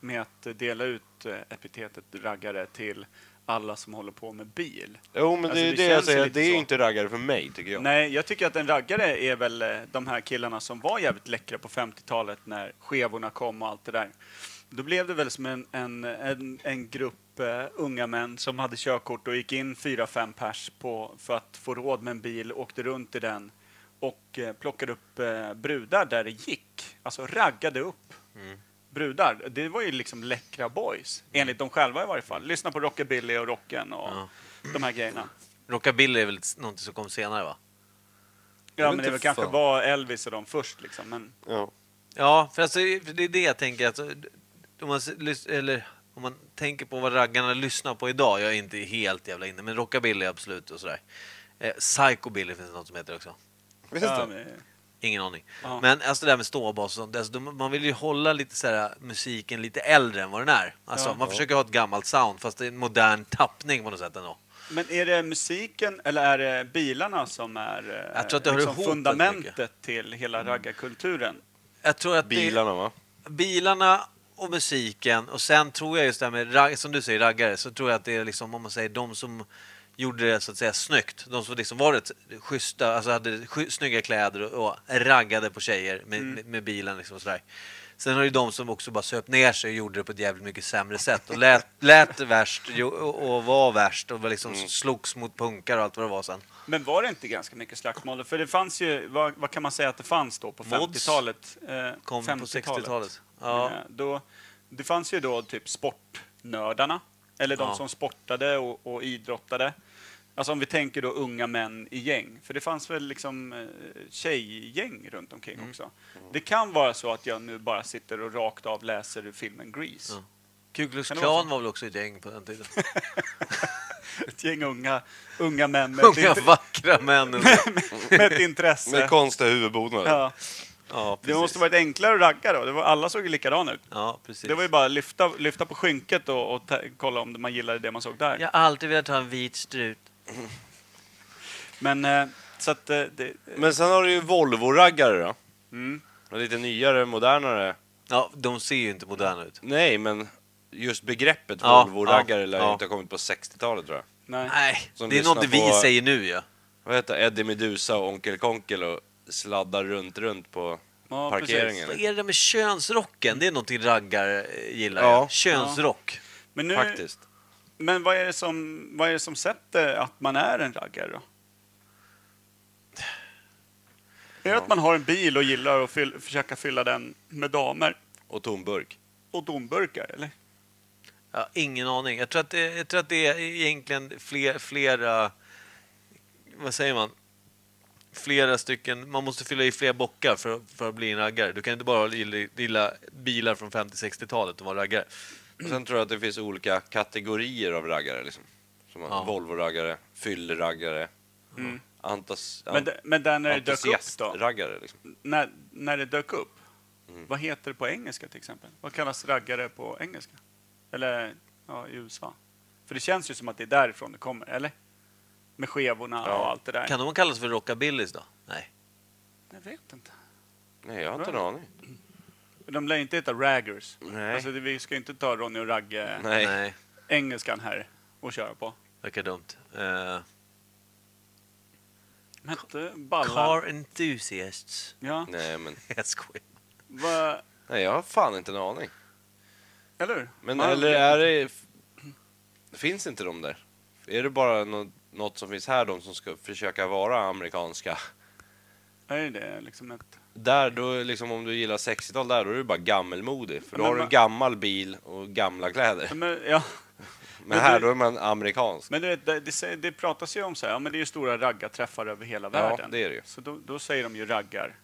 med att eh, dela ut eh, epitetet raggare till alla som håller på med bil?
Jo, men
Alltså,
det är
det
ju det jag
känns ju
säger,
lite
det är ju
så.
inte raggare för mig, tycker jag.
Nej, jag tycker att en raggare är väl eh, de här killarna som var jävligt läckra på 50-talet när skevorna kom och allt det där. Då blev det väl som en, en, en, en grupp eh, unga män som hade körkort och gick in 4-5 pers på, för att få råd med en bil, åkte runt i den och eh, plockade upp eh, brudar där det gick. Alltså raggade upp brudar. Det var ju liksom läckra boys, enligt dem själva i varje fall. Lyssna på rockabilly och rocken och
Ja.
de här grejerna.
Rockabilly är väl s- någonting som kom senare, va?
Jag
Ja,
vet
men
inte
det var kanske
fan.
var Elvis och de först liksom. Men
Ja.
Ja, för alltså, för det är det jag tänker. Alltså, om, man, s- lys- eller, om man tänker på vad raggarna lyssnar på idag, jag är inte helt jävla inne, men rockabilly absolut och sådär. Eh, psychobilly finns det något som heter också.
Visst
ja,
det?
men-
Ingen aning.
Ja.
Men alltså det där med ståbas och sånt, alltså, de- man vill ju hålla lite så här, musiken lite äldre än vad den är. Alltså,
Ja.
man försöker ha ett gammalt sound, fast det är en modern tappning på något sätt ändå.
men är det musiken eller är det bilarna som är eh,
Jag tror att det hör
liksom
ihop väldigt
fundamentet till hela raggarkulturen?
Jag tror att det-
Bilarna, va?
Eh.
bilarna och musiken och sen tror jag just det här med, rag- som du säger, raggare, så tror jag att det är liksom, om man säger de som gjorde det så att säga snyggt, de som liksom var rätt schyssta, alltså hade sky- snygga kläder och, och raggade på tjejer med,
Mm.
med, med bilen liksom och sådär. Sen har det ju de som också bara söp ner sig och gjorde det på ett jävligt mycket sämre sätt och lät, lät värst jo- och, och var värst och var liksom
Mm.
slogs mot punkar och allt vad det var sen.
Men var det inte ganska mycket slagsmål? För det fanns ju, vad, vad kan man säga att det fanns då på
Mods
50-talet? Eh,
Kom på 60-talet.
Ja.
Ja.
Då, det fanns ju då typ sportnördarna, eller de
Ja.
som sportade och, och idrottade. Alltså om vi tänker då unga män i gäng, för det fanns väl liksom eh, tjejgäng runt omkring
Mm.
också. Det kan vara så att jag nu bara sitter och rakt av läser ur filmen Grease.
Ja. Ku Klux
Kan det vara
Klan var väl också ett gäng på den tiden.
Ett gäng unga, unga män med,
Unga
ett, int-
vackra män. och-
med ett intresse.
Med konstiga huvudbonader.
ja.
Ja,
Det
precis.
måste varit enklare att ragga då. Det var, alla såg ju likadana ut.
Ja, precis.
Det var ju bara att lyfta, lyfta på skynket och, och ta, kolla om man gillade det man såg där.
Jag har alltid velat ha en vit strut.
Men eh, så att eh, det...
Men sen har du ju Volvo-raggare då.
Mm.
Och Lite nyare, modernare.
Ja, de ser ju inte moderna ut.
Nej, men just begreppet
Ja,
Volvo-raggare
ja,
lär
ja.
ju inte ha kommit på 60-talet tror jag.
Nej.
Nej,
Som
det är
lyssnar
något vi
på-
säger nu ju.
Vad heter det? Eddie Meduza och Onkel Konkel och sladdar runt, runt på
Ja,
parkeringen. liksom.
Vad är det där med könsrocken? Det är någonting raggar eh, gillar.
Ja.
Ja. Könsrock.
Men, nu,
Faktiskt.
men vad, är det som, vad är det som sätter att man är en raggare då? Det är att man har en bil och gillar att fyll, försöka fylla den med damer.
Och tomburk.
Och domburkar, eller?
Ja, ingen aning. Jag tror att, det- jag tror att det är egentligen fler, flera... Vad säger man? Flera stycken... Man måste fylla i fler bockar för, att- för att bli en raggare. Du kan inte bara gilla, gilla bilar från 50-60-talet och vara raggare.
Och sen tror jag att det finns olika kategorier av raggare. Liksom. Som
Ja.
ja. Volvo-raggare, fylleraggare,
Mm.
antas...
Men, de- men där när det dök upp då?
entusiastraggare, Liksom.
När, när det dök upp,
Mm.
vad heter det på engelska till exempel? Vad kallas raggare på engelska? Eller ja, i USA? För det känns ju som att det är därifrån det kommer, eller? Med skevorna och allt det där.
Kan de kallas för rockabillys då? Nej.
Jag vet inte.
Nej, jag har inte en aning.
De lär ju inte heta raggers.
Nej.
Alltså, det- vi ska ju inte ta Ronny och
Nej.
Ragge-engelskan här och köra på.
Verkar dumt. Eh,
Men inte ballar...
car enthusiasts.
Ja,
Nej, men...
Jag skojar.
va,
Nej, jag har fan inte en aning.
eller hur?
Men
Man-
eller är det... Finns inte de där? Är det bara nå- något som finns här, de som ska försöka vara amerikanska?
Är det liksom ett...
Där då, liksom om du gillar 60-tal där, då är du bara gammelmodig. För då
Men
har du
man-
en gammal bil och gamla kläder.
Men, ja.
Men
Men
här,
du-
då är man amerikansk.
Men du vet, det, det, sä- det pratas ju om så här, ja, men det är ju stora raggarträffar över hela
Ja,
världen.
det är det ju. Mm.
Så då, då säger de ju raggar.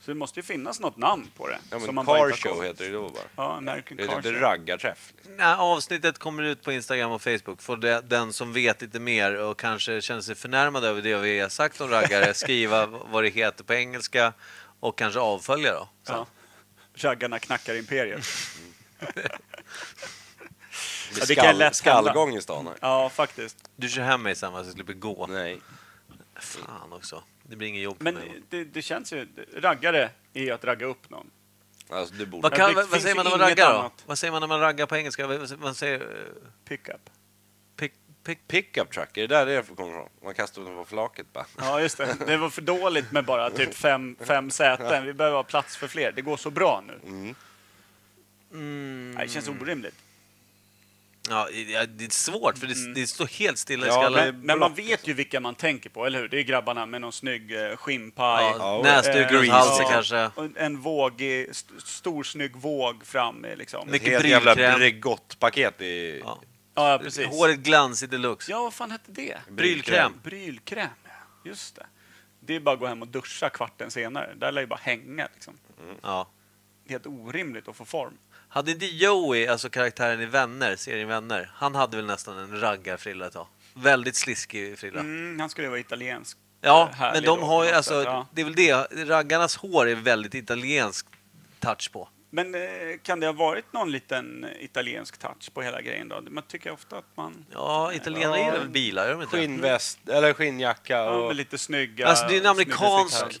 Så det måste ju finnas något namn på det.
Ja,
som
men
bara
car
inte har
show
koll-
heter det då bara.
Ja, American
Det är
Car
typ
Show.
en raggarträff. Liksom.
När avsnittet kommer ut på Instagram och Facebook får det, den som vet lite mer och kanske känner sig förnärmad över det vi har sagt om raggare skriva v- vad det heter på engelska och kanske avfölja då. Så.
ja. Raggarna knackar imperiet.
Det
Ja,
är
det kan
skall,
lätt
skallgång i stan här.
ja, faktiskt.
Du kör hem mig sen va, så jag slipper gå.
Nej.
Fan också. Det blir inget jobb för
Men
mig.
det, det känns ju... Raggare är ju att ragga upp någon.
Alltså, du borde...
Vad, kan,
det
vad, vad
finns
säger
ju
man när man
inget
raggar då?
annat.
Vad säger man när man raggar på engelska? Vad, vad säger- vad säger... eh,
Pickup.
Pick, pick,
Pickup truck, är det där det kommer ifrån? Man kastar dem på flaket bara.
Ja, just det. Det var för dåligt med bara typ fem, fem säten. Vi behöver ha plats för fler. Det går så bra nu.
Mm.
Nej, det känns orimligt.
ja, ja, det är svårt för det, det står helt stilla i
Ja,
skallen.
det-
Mm. Men, men man vet ju vilka man tänker på, eller hur? Det är grabbarna med någon snygg eh, skinnpaj. Eh,
Ja,
Ja,
Näsduk runt
greasy.
halsen
Ja.
kanske.
Och En vågig, st- stor snygg våg fram eh, liksom.
Mycket
Helt jävla
brylkräm.
Bregottpaket i...
Ja.
Ja, ja, precis.
Håret glansigt deluxe.
Ja, vad fan hette det?
Brylkräm.
Brylkräm, ja. Just det. Det är bara att gå hem och duscha kvarten senare. Där lär ju bara hänga liksom.
Ja.
Helt orimligt att få form.
Hade inte Joey, alltså karaktären i Vänner, serien Vänner, han hade väl nästan en raggarfrilla ett tag? Väldigt sliskig frilla.
Mm, han skulle ju vara italiensk.
ja,
Eh, härlig
men de
då,
har
på
ju,
något
alltså,
sätt, ja.
det är väl det, raggarnas hår är väldigt italiensk touch på.
Men eh, kan det ha varit någon liten italiensk touch på hela grejen då? Man tycker ofta att man...
Ja, italienare
Ja,
gillar väl bilar, gör de inte?
Skinnväst, eller skinnjacka
Ja,
och...
med lite snygga...
Alltså, det är en
snygga
amerikansk-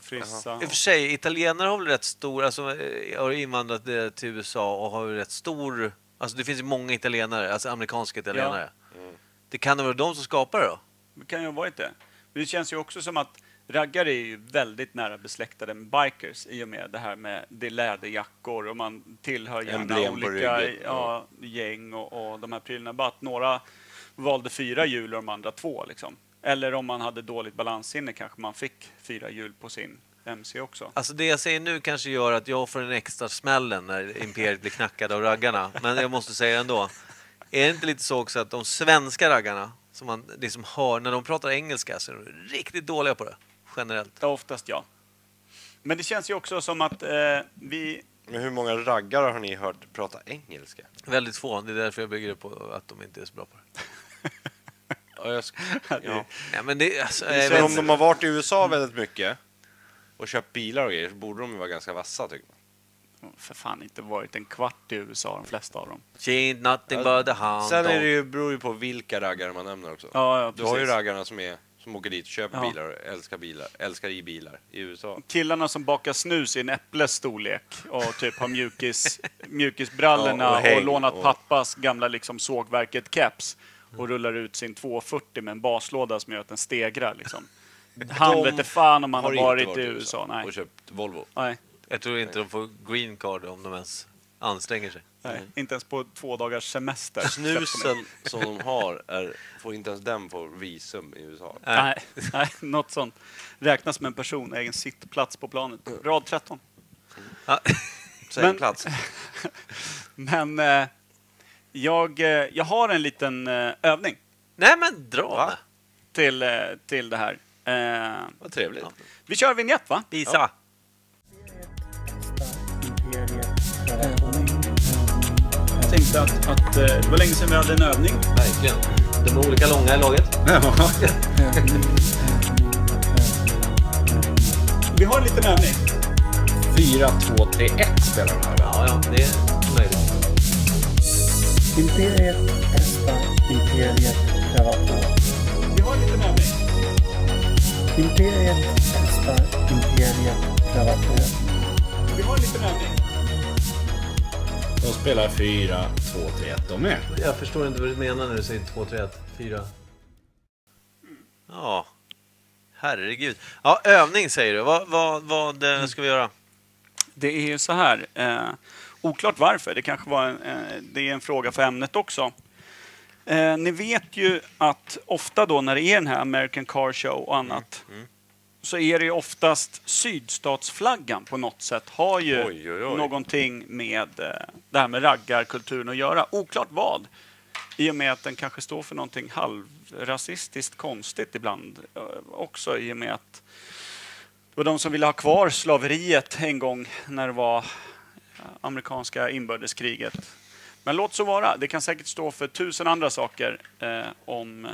frisyr- Frissa.
I och för sig, italienare har väl rätt stor, alltså eh, har invandrat eh, till USA och har ju rätt stor, alltså det finns ju många italienare, alltså amerikanska italienare.
Mm.
Det kan väl vara de som skapar det då?
Det kan ju ha varit det. Men det känns ju också som att raggare är ju väldigt nära besläktade med bikers i och med det här med det är läderjackor och man tillhör gärna
Emblem på
olika
ryggen.
ja, gäng och, och de här prylarna. Bara att några valde fyra hjul och de andra två liksom. Eller om man hade dåligt balanssinne kanske man fick fyra hjul på sin MC också.
Alltså det jag säger nu kanske gör att jag får en extra smällen när Imperiet blir knackade av raggarna. Men jag måste säga det ändå. Är det inte lite så också att de svenska raggarna, som man liksom hör, när de pratar engelska så är de riktigt dåliga på det. Generellt.
Ja, oftast ja. Men det känns ju också som att eh, vi...
Men hur många raggare har ni hört prata engelska?
Väldigt få. Det är därför jag bygger det på att de inte är så bra på det.
Ja, jag sk- ja.
Nej, men det, alltså,
Eh,
jag
Sen
vet
om de
inte.
har varit i USA väldigt mycket och köpt bilar och grejer så borde de ju vara ganska vassa tycker man.
För fan inte varit en kvart i USA de flesta av dem.
She ain't nothing but a hound
Sen är det
dog.
ju, beror ju på vilka raggare man nämner också.
Ja, ja,
du har ju
precis.
raggarna som, är, som åker dit och köper
Ja.
bilar och älskar bilar, älskar i bilar i USA.
killarna som bakar snus i en äpples storlek och typ har mjukis, mjukisbrallorna
Ja, och
och,
häng
lånat
och-
pappas gamla liksom sågverket-keps och rullar ut sin 240 med en baslåda som gör att den stegrar. Liksom. Han
De
vet inte fan om han har,
inte
varit i USA. Nej.
och köpt Volvo.
Nej.
Jag tror inte de får green card om de ens anstränger sig.
Nej, inte ens på två dagars semester. släpper de in.
Snusen som de har, är, får inte ens den få visum i USA.
Nej, nej, något sånt. Räknas som en person, egen sittplats på planet. Rad 13.
Ja.
Säg
Men-
plats.
Men eh, jag, eh, jag har en liten eh, övning
Nej men dra!
Va?
till, eh, till det här. Eh,
Vad trevligt.
vi kör vignett va?
Visa!
Jag tänkte att, att eh, det var länge sedan vi hade en övning.
Verkligen. De är olika långa i laget.
Vi har en liten övning.
4, 2, 3, 1 spelar de här.
Ja, ja, det är möjligt.
Imperiet testar, Imperiet prövar på.
Vi har en liten övning.
Imperiet testar, Imperiet prövar på.
Vi har en liten övning.
De spelar 4, 2, 3, 1 de med.
Jag förstår inte vad du menar när du säger 2, 3, 1, 4. Ja. Herregud. Ja, övning säger du. Vad, vad, vad eh, ska vi göra?
Det är ju så här. Eh, oklart varför. Det kanske var en, eh, det är en fråga för ämnet också. Eh, ni vet ju att ofta då när det är den här American Car Show och annat
Mm,
så är det ju oftast sydstatsflaggan på något sätt har ju
Oj, oj, oj.
någonting med eh, det här med raggarkulturen att göra. Oklart vad. I och med att den kanske står för någonting halvrasistiskt konstigt ibland eh, också i och med att det var de som ville ha kvar slaveriet en gång när det var eh, amerikanska inbördeskriget. Men låt så vara. Det kan säkert stå för tusen andra saker eh, om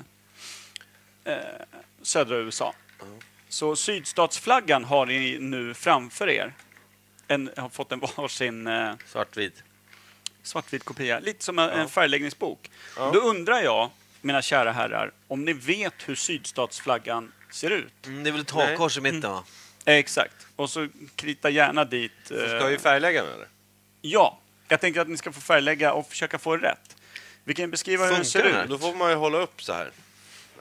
eh, södra USA. Så sydstatsflaggan har ni nu framför er. En, har fått en varsin eh,
Svartvit.
svartvit kopia, lite som en, en färgläggningsbok. Då undrar jag, mina kära herrar, om ni vet hur sydstatsflaggan ser ut?
Mm, det är väl takkors i mitten, va?
Eh, Exakt. Och så krita gärna dit... eh,
Ska vi färglägga den eller?
Ja, jag tänker att ni ska få färglägga och försöka få det rätt. Vi kan beskriva hur den
Funkar
ser
den här?
ut.
Då får man ju hålla upp så här.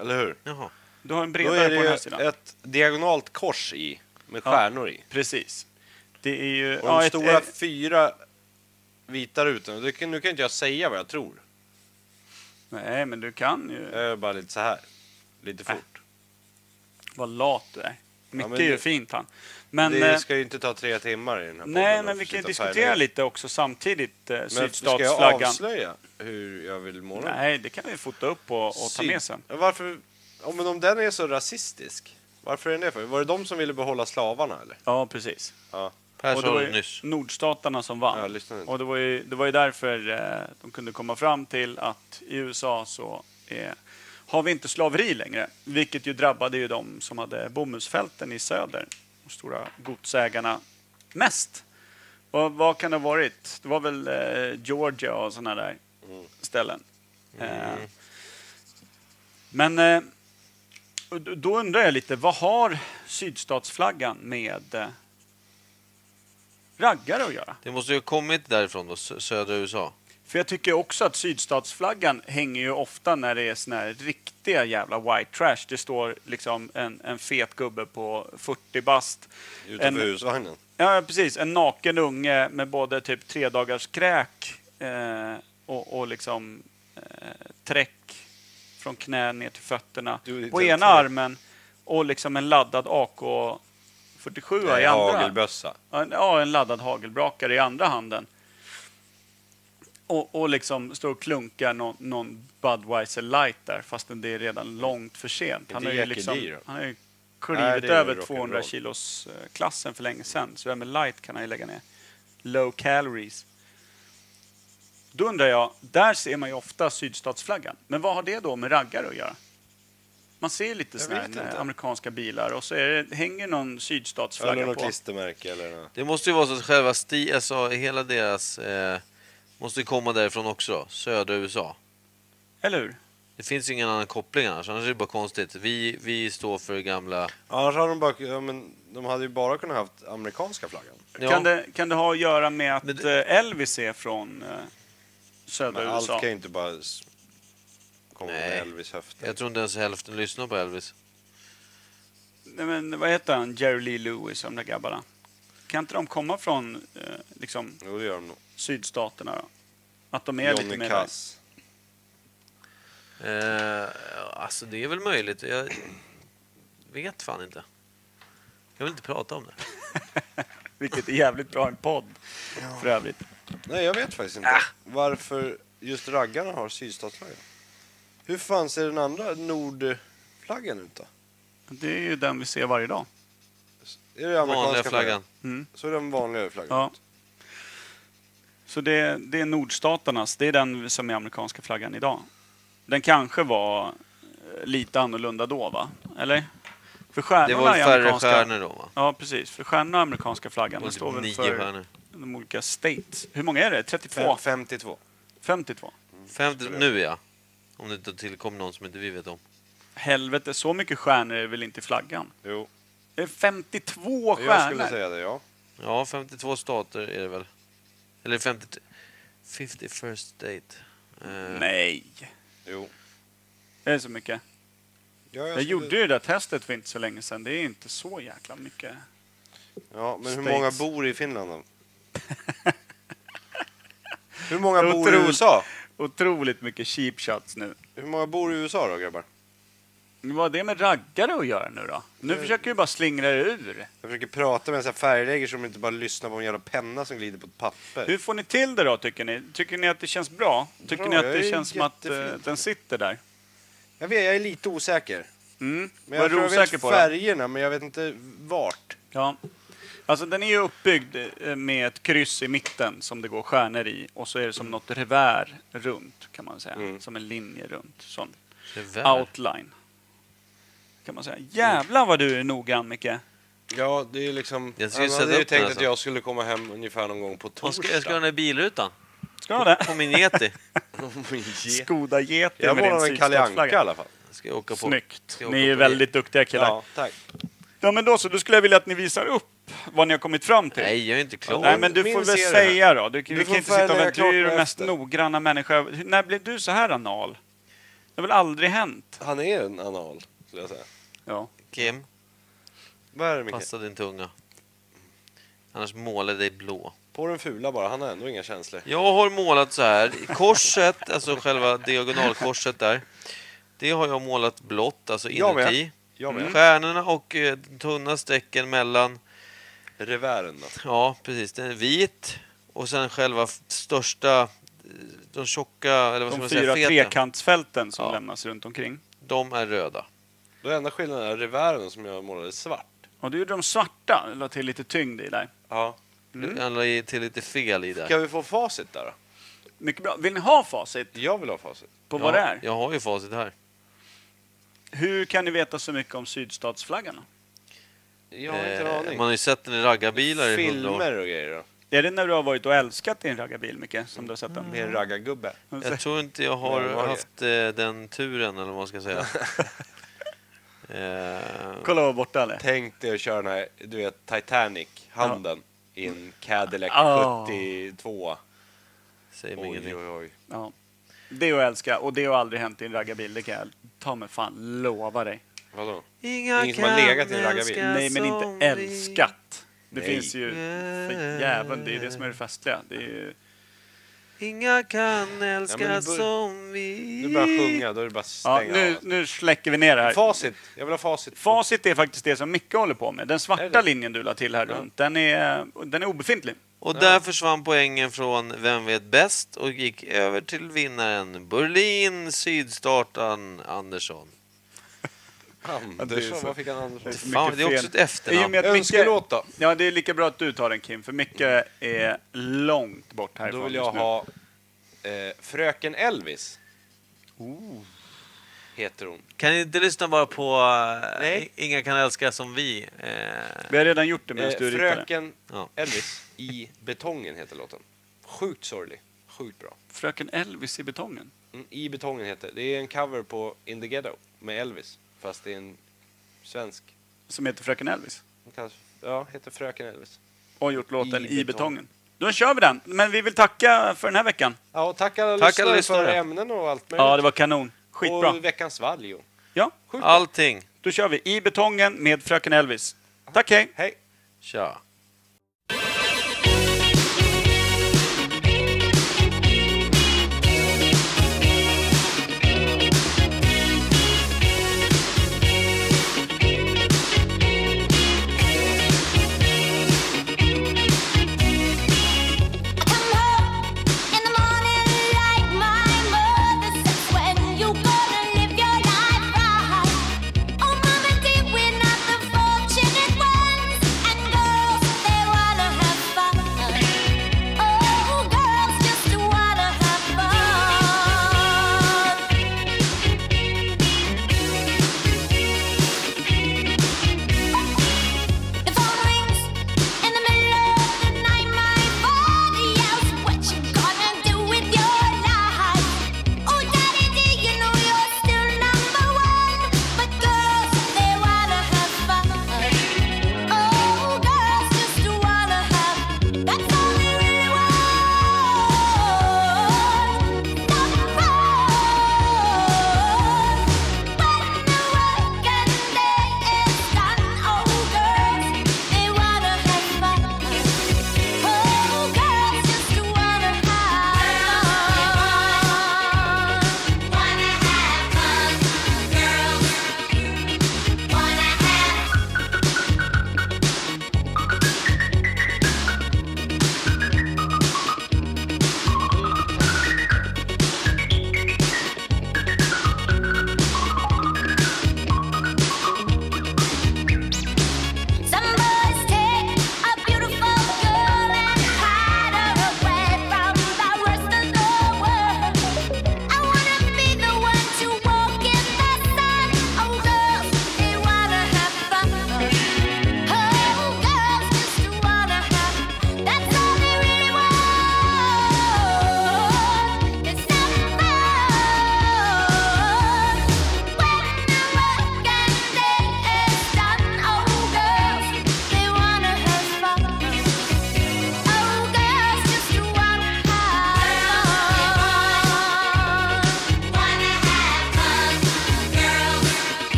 Eller hur?
Jaha.
Du har
Då
en bredare
är
på
det
den här
ju
sidan.
ett diagonalt kors i, med
Ja.
stjärnor i.
Precis. Det är ju...
Och
ja,
de
ett-
stora
eh,
fyra vita rutorna, det kan- nu kan inte jag säga vad jag tror.
nej, men du kan ju...
Jag är bara lite så här. Lite
Äh,
fort.
Vad lat du är. Micke
men
är ju
det-
fint han. Men... eh,
det ska ju inte ta tre timmar i den här
nej,
podden
men
att
vi kan ju
försöka
diskutera
färglägga.
lite också samtidigt. Eh,
Men ska jag
sydstatsflaggan.
avslöja hur jag vill måla? den?
Nej, det kan vi fota upp och, och ta
Syd-
med sen.
Ja, Varför, om, om den är så rasistisk, varför är den det för? Var det de som ville behålla slavarna eller?
Ja, precis.
Ja.
Per
Och det var
sa
ju
nyss.
nordstaterna som vann.
Ja, jag lyssnade inte.
Och det var ju, det var ju därför eh, de kunde komma fram till att i USA så är, har vi inte slaveri längre. Vilket ju drabbade ju de som hade bomullsfälten i söder. De stora godsägarna mest. Och vad kan det ha varit? Det var väl eh, Georgia och sådana där ställen. Eh, men eh, och d- då undrar jag lite, vad har sydstatsflaggan med eh, raggare att göra?
Det måste ju ha kommit därifrån, då, sö- södra USA.
För jag tycker också att sydstatsflaggan hänger ju ofta när det är såna här riktiga jävla white trash. Det står liksom en, en fet gubbe på 40 bast.
Utanför
En-
husvagnen.
Ja, precis. En naken unge med både typ tre dagars kräk eh, och, och liksom eh, träck från knä ner till fötterna
Du är lite
på
en
ena
träck.
armen och liksom en laddad AK47 i
Nej,
andra.
hagelbössa.
Ja, en- Ja, en laddad hagelbrakare i andra handen. Och, och liksom står och klunkar någon, någon Budweiser light där, fastän det är redan långt för sent. Han
Inte
har ju,
Jack
liksom,
E. då?
han har ju
Nej,
klivit
det är
över
ju rock'n'roll.
200 kilos eh, klassen för länge sedan, så det här med light kan han ju lägga ner. Low calories. Då undrar jag, där ser man ju ofta sydstatsflaggan. Men vad har det då med raggare att göra? Man ser lite såna
vet
här
inte.
eh, amerikanska bilar och så är det, hänger någon sydstatsflagga
Eller något
på.
klistermärke eller något.
Det måste ju vara så att själva sti, alltså hela deras... Eh, måste ju komma därifrån också, då, södra USA.
Eller hur?
Det finns ju ingen annan koppling annars, annars är det bara konstigt. Vi, vi står för gamla...
Annars hade de bara, ja, men de hade ju bara kunnat haft amerikanska flaggan.
Ja,
Kan, det, kan det ha att göra med att
Men
eh, Elvis är från eh, södra
Men allt
USA?
kan ju inte bara s- komma
Nej.
med Elvis höfter.
Jag tror inte ens hälften lyssnar på Elvis.
Nej, men, vad heter han? Jerry Lee Lewis, de där grabbarna. Kan inte de komma från eh, liksom,
Jo, det gör de nog.
sydstaterna då? Att de är lite
Johnny
mer...
Cass.
Eh, alltså det är väl möjligt. Jag vet fan inte. Jag vill inte prata om det.
Vilket är jävligt bra i en podd, för övrigt.
Nej, jag vet faktiskt inte
Ah!
varför just raggarna har sydstatsflaggan. Hur fan ser den andra nordflaggan ut då?
Det är ju den vi ser varje dag.
Är det amerikanska
Vanliga flaggan.
Mm.
Så är den vanliga flaggan.
Ja. Så det, det är nordstaternas, det är den som är amerikanska flaggan idag. Den kanske var eh, lite annorlunda då, va? Eller? För stjärnorna
Det var
i
väl färre
amerikanska-
stjärnor då va?
Ja, precis. För stjärnorna i amerikanska flaggan,
Det var
den står
typ
väl
nio
för
stjärnor.
de olika states. Hur många är det?
Fem,
32?
52.
52?
Fem nu ja. Om det inte tillkommer någon som inte vi vet om.
Helvete, så mycket stjärnor är väl inte i flaggan?
Jo,
Det är 52
jag skulle
stjärnor!
säga det, ja.
Ja, 52 stater är det väl. Eller 50... 51st state. Eh,
Nej!
Jo.
Det är så mycket.
Ja,
Jag gjorde ju det där testet för inte så länge sedan. Det är inte så jäkla mycket.
Ja, men hur
States.
många bor i Finland då? hur många bor i
Otroligt.
USA?
Otroligt mycket cheap shots nu.
Hur många bor i USA då, grabbar?
Vad har det med raggare att göra nu då? Nu försöker vi bara slingra er ur.
Jag försöker prata med en sån här färgläggare som inte bara lyssnar på en jävla penna som glider på ett papper.
Hur får ni till det då tycker ni? Tycker ni att det känns bra? Tycker
Bra,
ni att
jag
det
är
känns som att eh,
jättefint.
den sitter där?
Jag vet, jag är lite osäker.
Mm.
Men
Vad är
jag,
du
tror jag
osäker
vet
på då?
färgerna, men jag vet inte vart.
Ja. Alltså den är ju uppbyggd eh, med ett kryss i mitten som det går stjärnor i och så är det som något revär runt kan man säga. Som en linje runt. Sån
Revär.
outline. Kan man säga. Jävlar vad du är noga Micke.
Ja, det är liksom...
Jag
Jag
ska ju
hade
sätta
ju
upp
tänkt
den
att
alltså.
jag skulle komma hem ungefär någon gång på
Jag
torsdag.
ska, jag ska ha den här bilrutan.
Ska du det?
På min Yeti.
Skoda geti
jag
med din
målar en Kalle Anka i
sydstatsflagga.
alla fall.
Ska jag åka alltså, på.
Snyggt.
Ska jag
Ni
åka
är
på
väldigt duktiga killar. Ja.
Ja, tack.
men då så, då skulle jag vilja att ni visar upp vad ni har kommit fram till.
Nej, jag är inte klar.
Nej, men du
Min
får väl
serie.
säga då. Du,
Du
vi
får
kan inte
följa
sitta och vänta. Du är ju den
klockan
mest
efter.
noggranna människa. Hur- När blev du så här anal? Det har väl aldrig hänt?
Han är en anal, skulle jag säga.
Ja.
Kim,
Vad är det, Micke?
passa din tunga. Annars målar jag dig blå.
På den fula bara, han har ändå inga känslor.
Jag har målat så här. Korset, alltså själva diagonalkorset där. Det har jag målat blått, alltså
Jag med.
inuti. Mm.
Jag med.
Stjärnorna och eh, tunna strecken mellan
Revären då?
Ja, precis. Den är vit. Och sen själva f- största, eh, de tjocka, eller vad ska
De
man
fyra
säga, feta,
trekantsfälten som
Ja.
lämnas runt omkring.
de är röda.
Den enda skillnaden är revären som jag målade svart.
Och du gjorde de svarta, la till lite tyngd i där.
Ja.
Mm. Han la i- till lite fel i där.
Kan vi få facit där då?
Mycket bra. Vill ni ha facit
Jag vill ha facit.
på
ja,
vad det är?
Jag har ju facit här.
Hur kan ni veta så mycket om sydstatsflaggan? då?
Jag har inte
Eh,
en aning.
Man har ju sett den i raggarbilar i hundra år.
Filmer och grejer då?
Är det när du har varit och älskat din raggarbil, Micke, som du har sett den?
Med en raggargubbe.
Mm. Jag tror inte jag har
Nej, det var det.
haft eh, den turen, eller vad man ska säga. eh,
Kolla vad borta eller?
Tänk dig att köra den här, du vet, Titanic-handen i en Cadillac
Ah.
72.
säg mig
Oj, oj,
ingenting.
oj.
Ja. Det är att älska och det har aldrig hänt i en raggarbil, det kan jag ta mig fan lova dig.
Vadå?
Inga
Ingen som har legat i en raggarbil.
älska
Nej, men
som
inte
vi.
älskat. Det
Nej.
finns ju för jäveln, det är det som är det festliga. Det är ju...
Inga kan älska
Ja, men nu bör-
som vi.
Nu börjar jag sjunga, då är det bara att
ja,
stänga
nu,
av.
nu släcker vi ner det här.
Facit! Jag vill ha facit.
Facit är faktiskt det som Micke håller på med. Den
Är
svarta
det?
linjen du la till här runt, den är, den är obefintlig.
Och där försvann poängen från Vem vet bäst och gick över till vinnaren Berlin Sydstartan Andersson.
Andersson, vad fick han Andersson?
för
Fan,
mycket
det är
fel.
också ett efternamn.
I och med att Micke-
Önskelåt då?
Ja, det är lika bra att du tar den Kim, för Micke är långt bort härifrån
Då vill jag
just nu.
ha eh, Fröken Elvis. Heter hon.
Kan ni inte lyssna bara på eh,
Nej.
I- Inga kan älska som vi? Eh,
Vi har redan gjort det medan
Eh,
du ritade.
Fröken
Ja.
Elvis i betongen heter låten. Sjukt sorglig. Sjukt bra.
Fröken Elvis i betongen.
Mm, I betongen heter det. Det är en cover på In the Ghetto med Elvis. Fast det är en svensk.
Som heter Fröken Elvis.
Hon kallas, ja, heter Fröken Elvis.
Och gjort låten I,
I
betongen.
betongen.
Då kör vi den. Men vi vill tacka för den här veckan.
Ja, och tack alla
Tack
lyssnare
alla
för
lyssnare.
ämnen och allt möjligt.
Ja, det var kanon. Skitbra.
Och veckans valj. och-
Ja,
Sjukt bra.
allting.
då kör vi I betongen med Fröken Elvis. Tack, hej!
Hej!
Tja.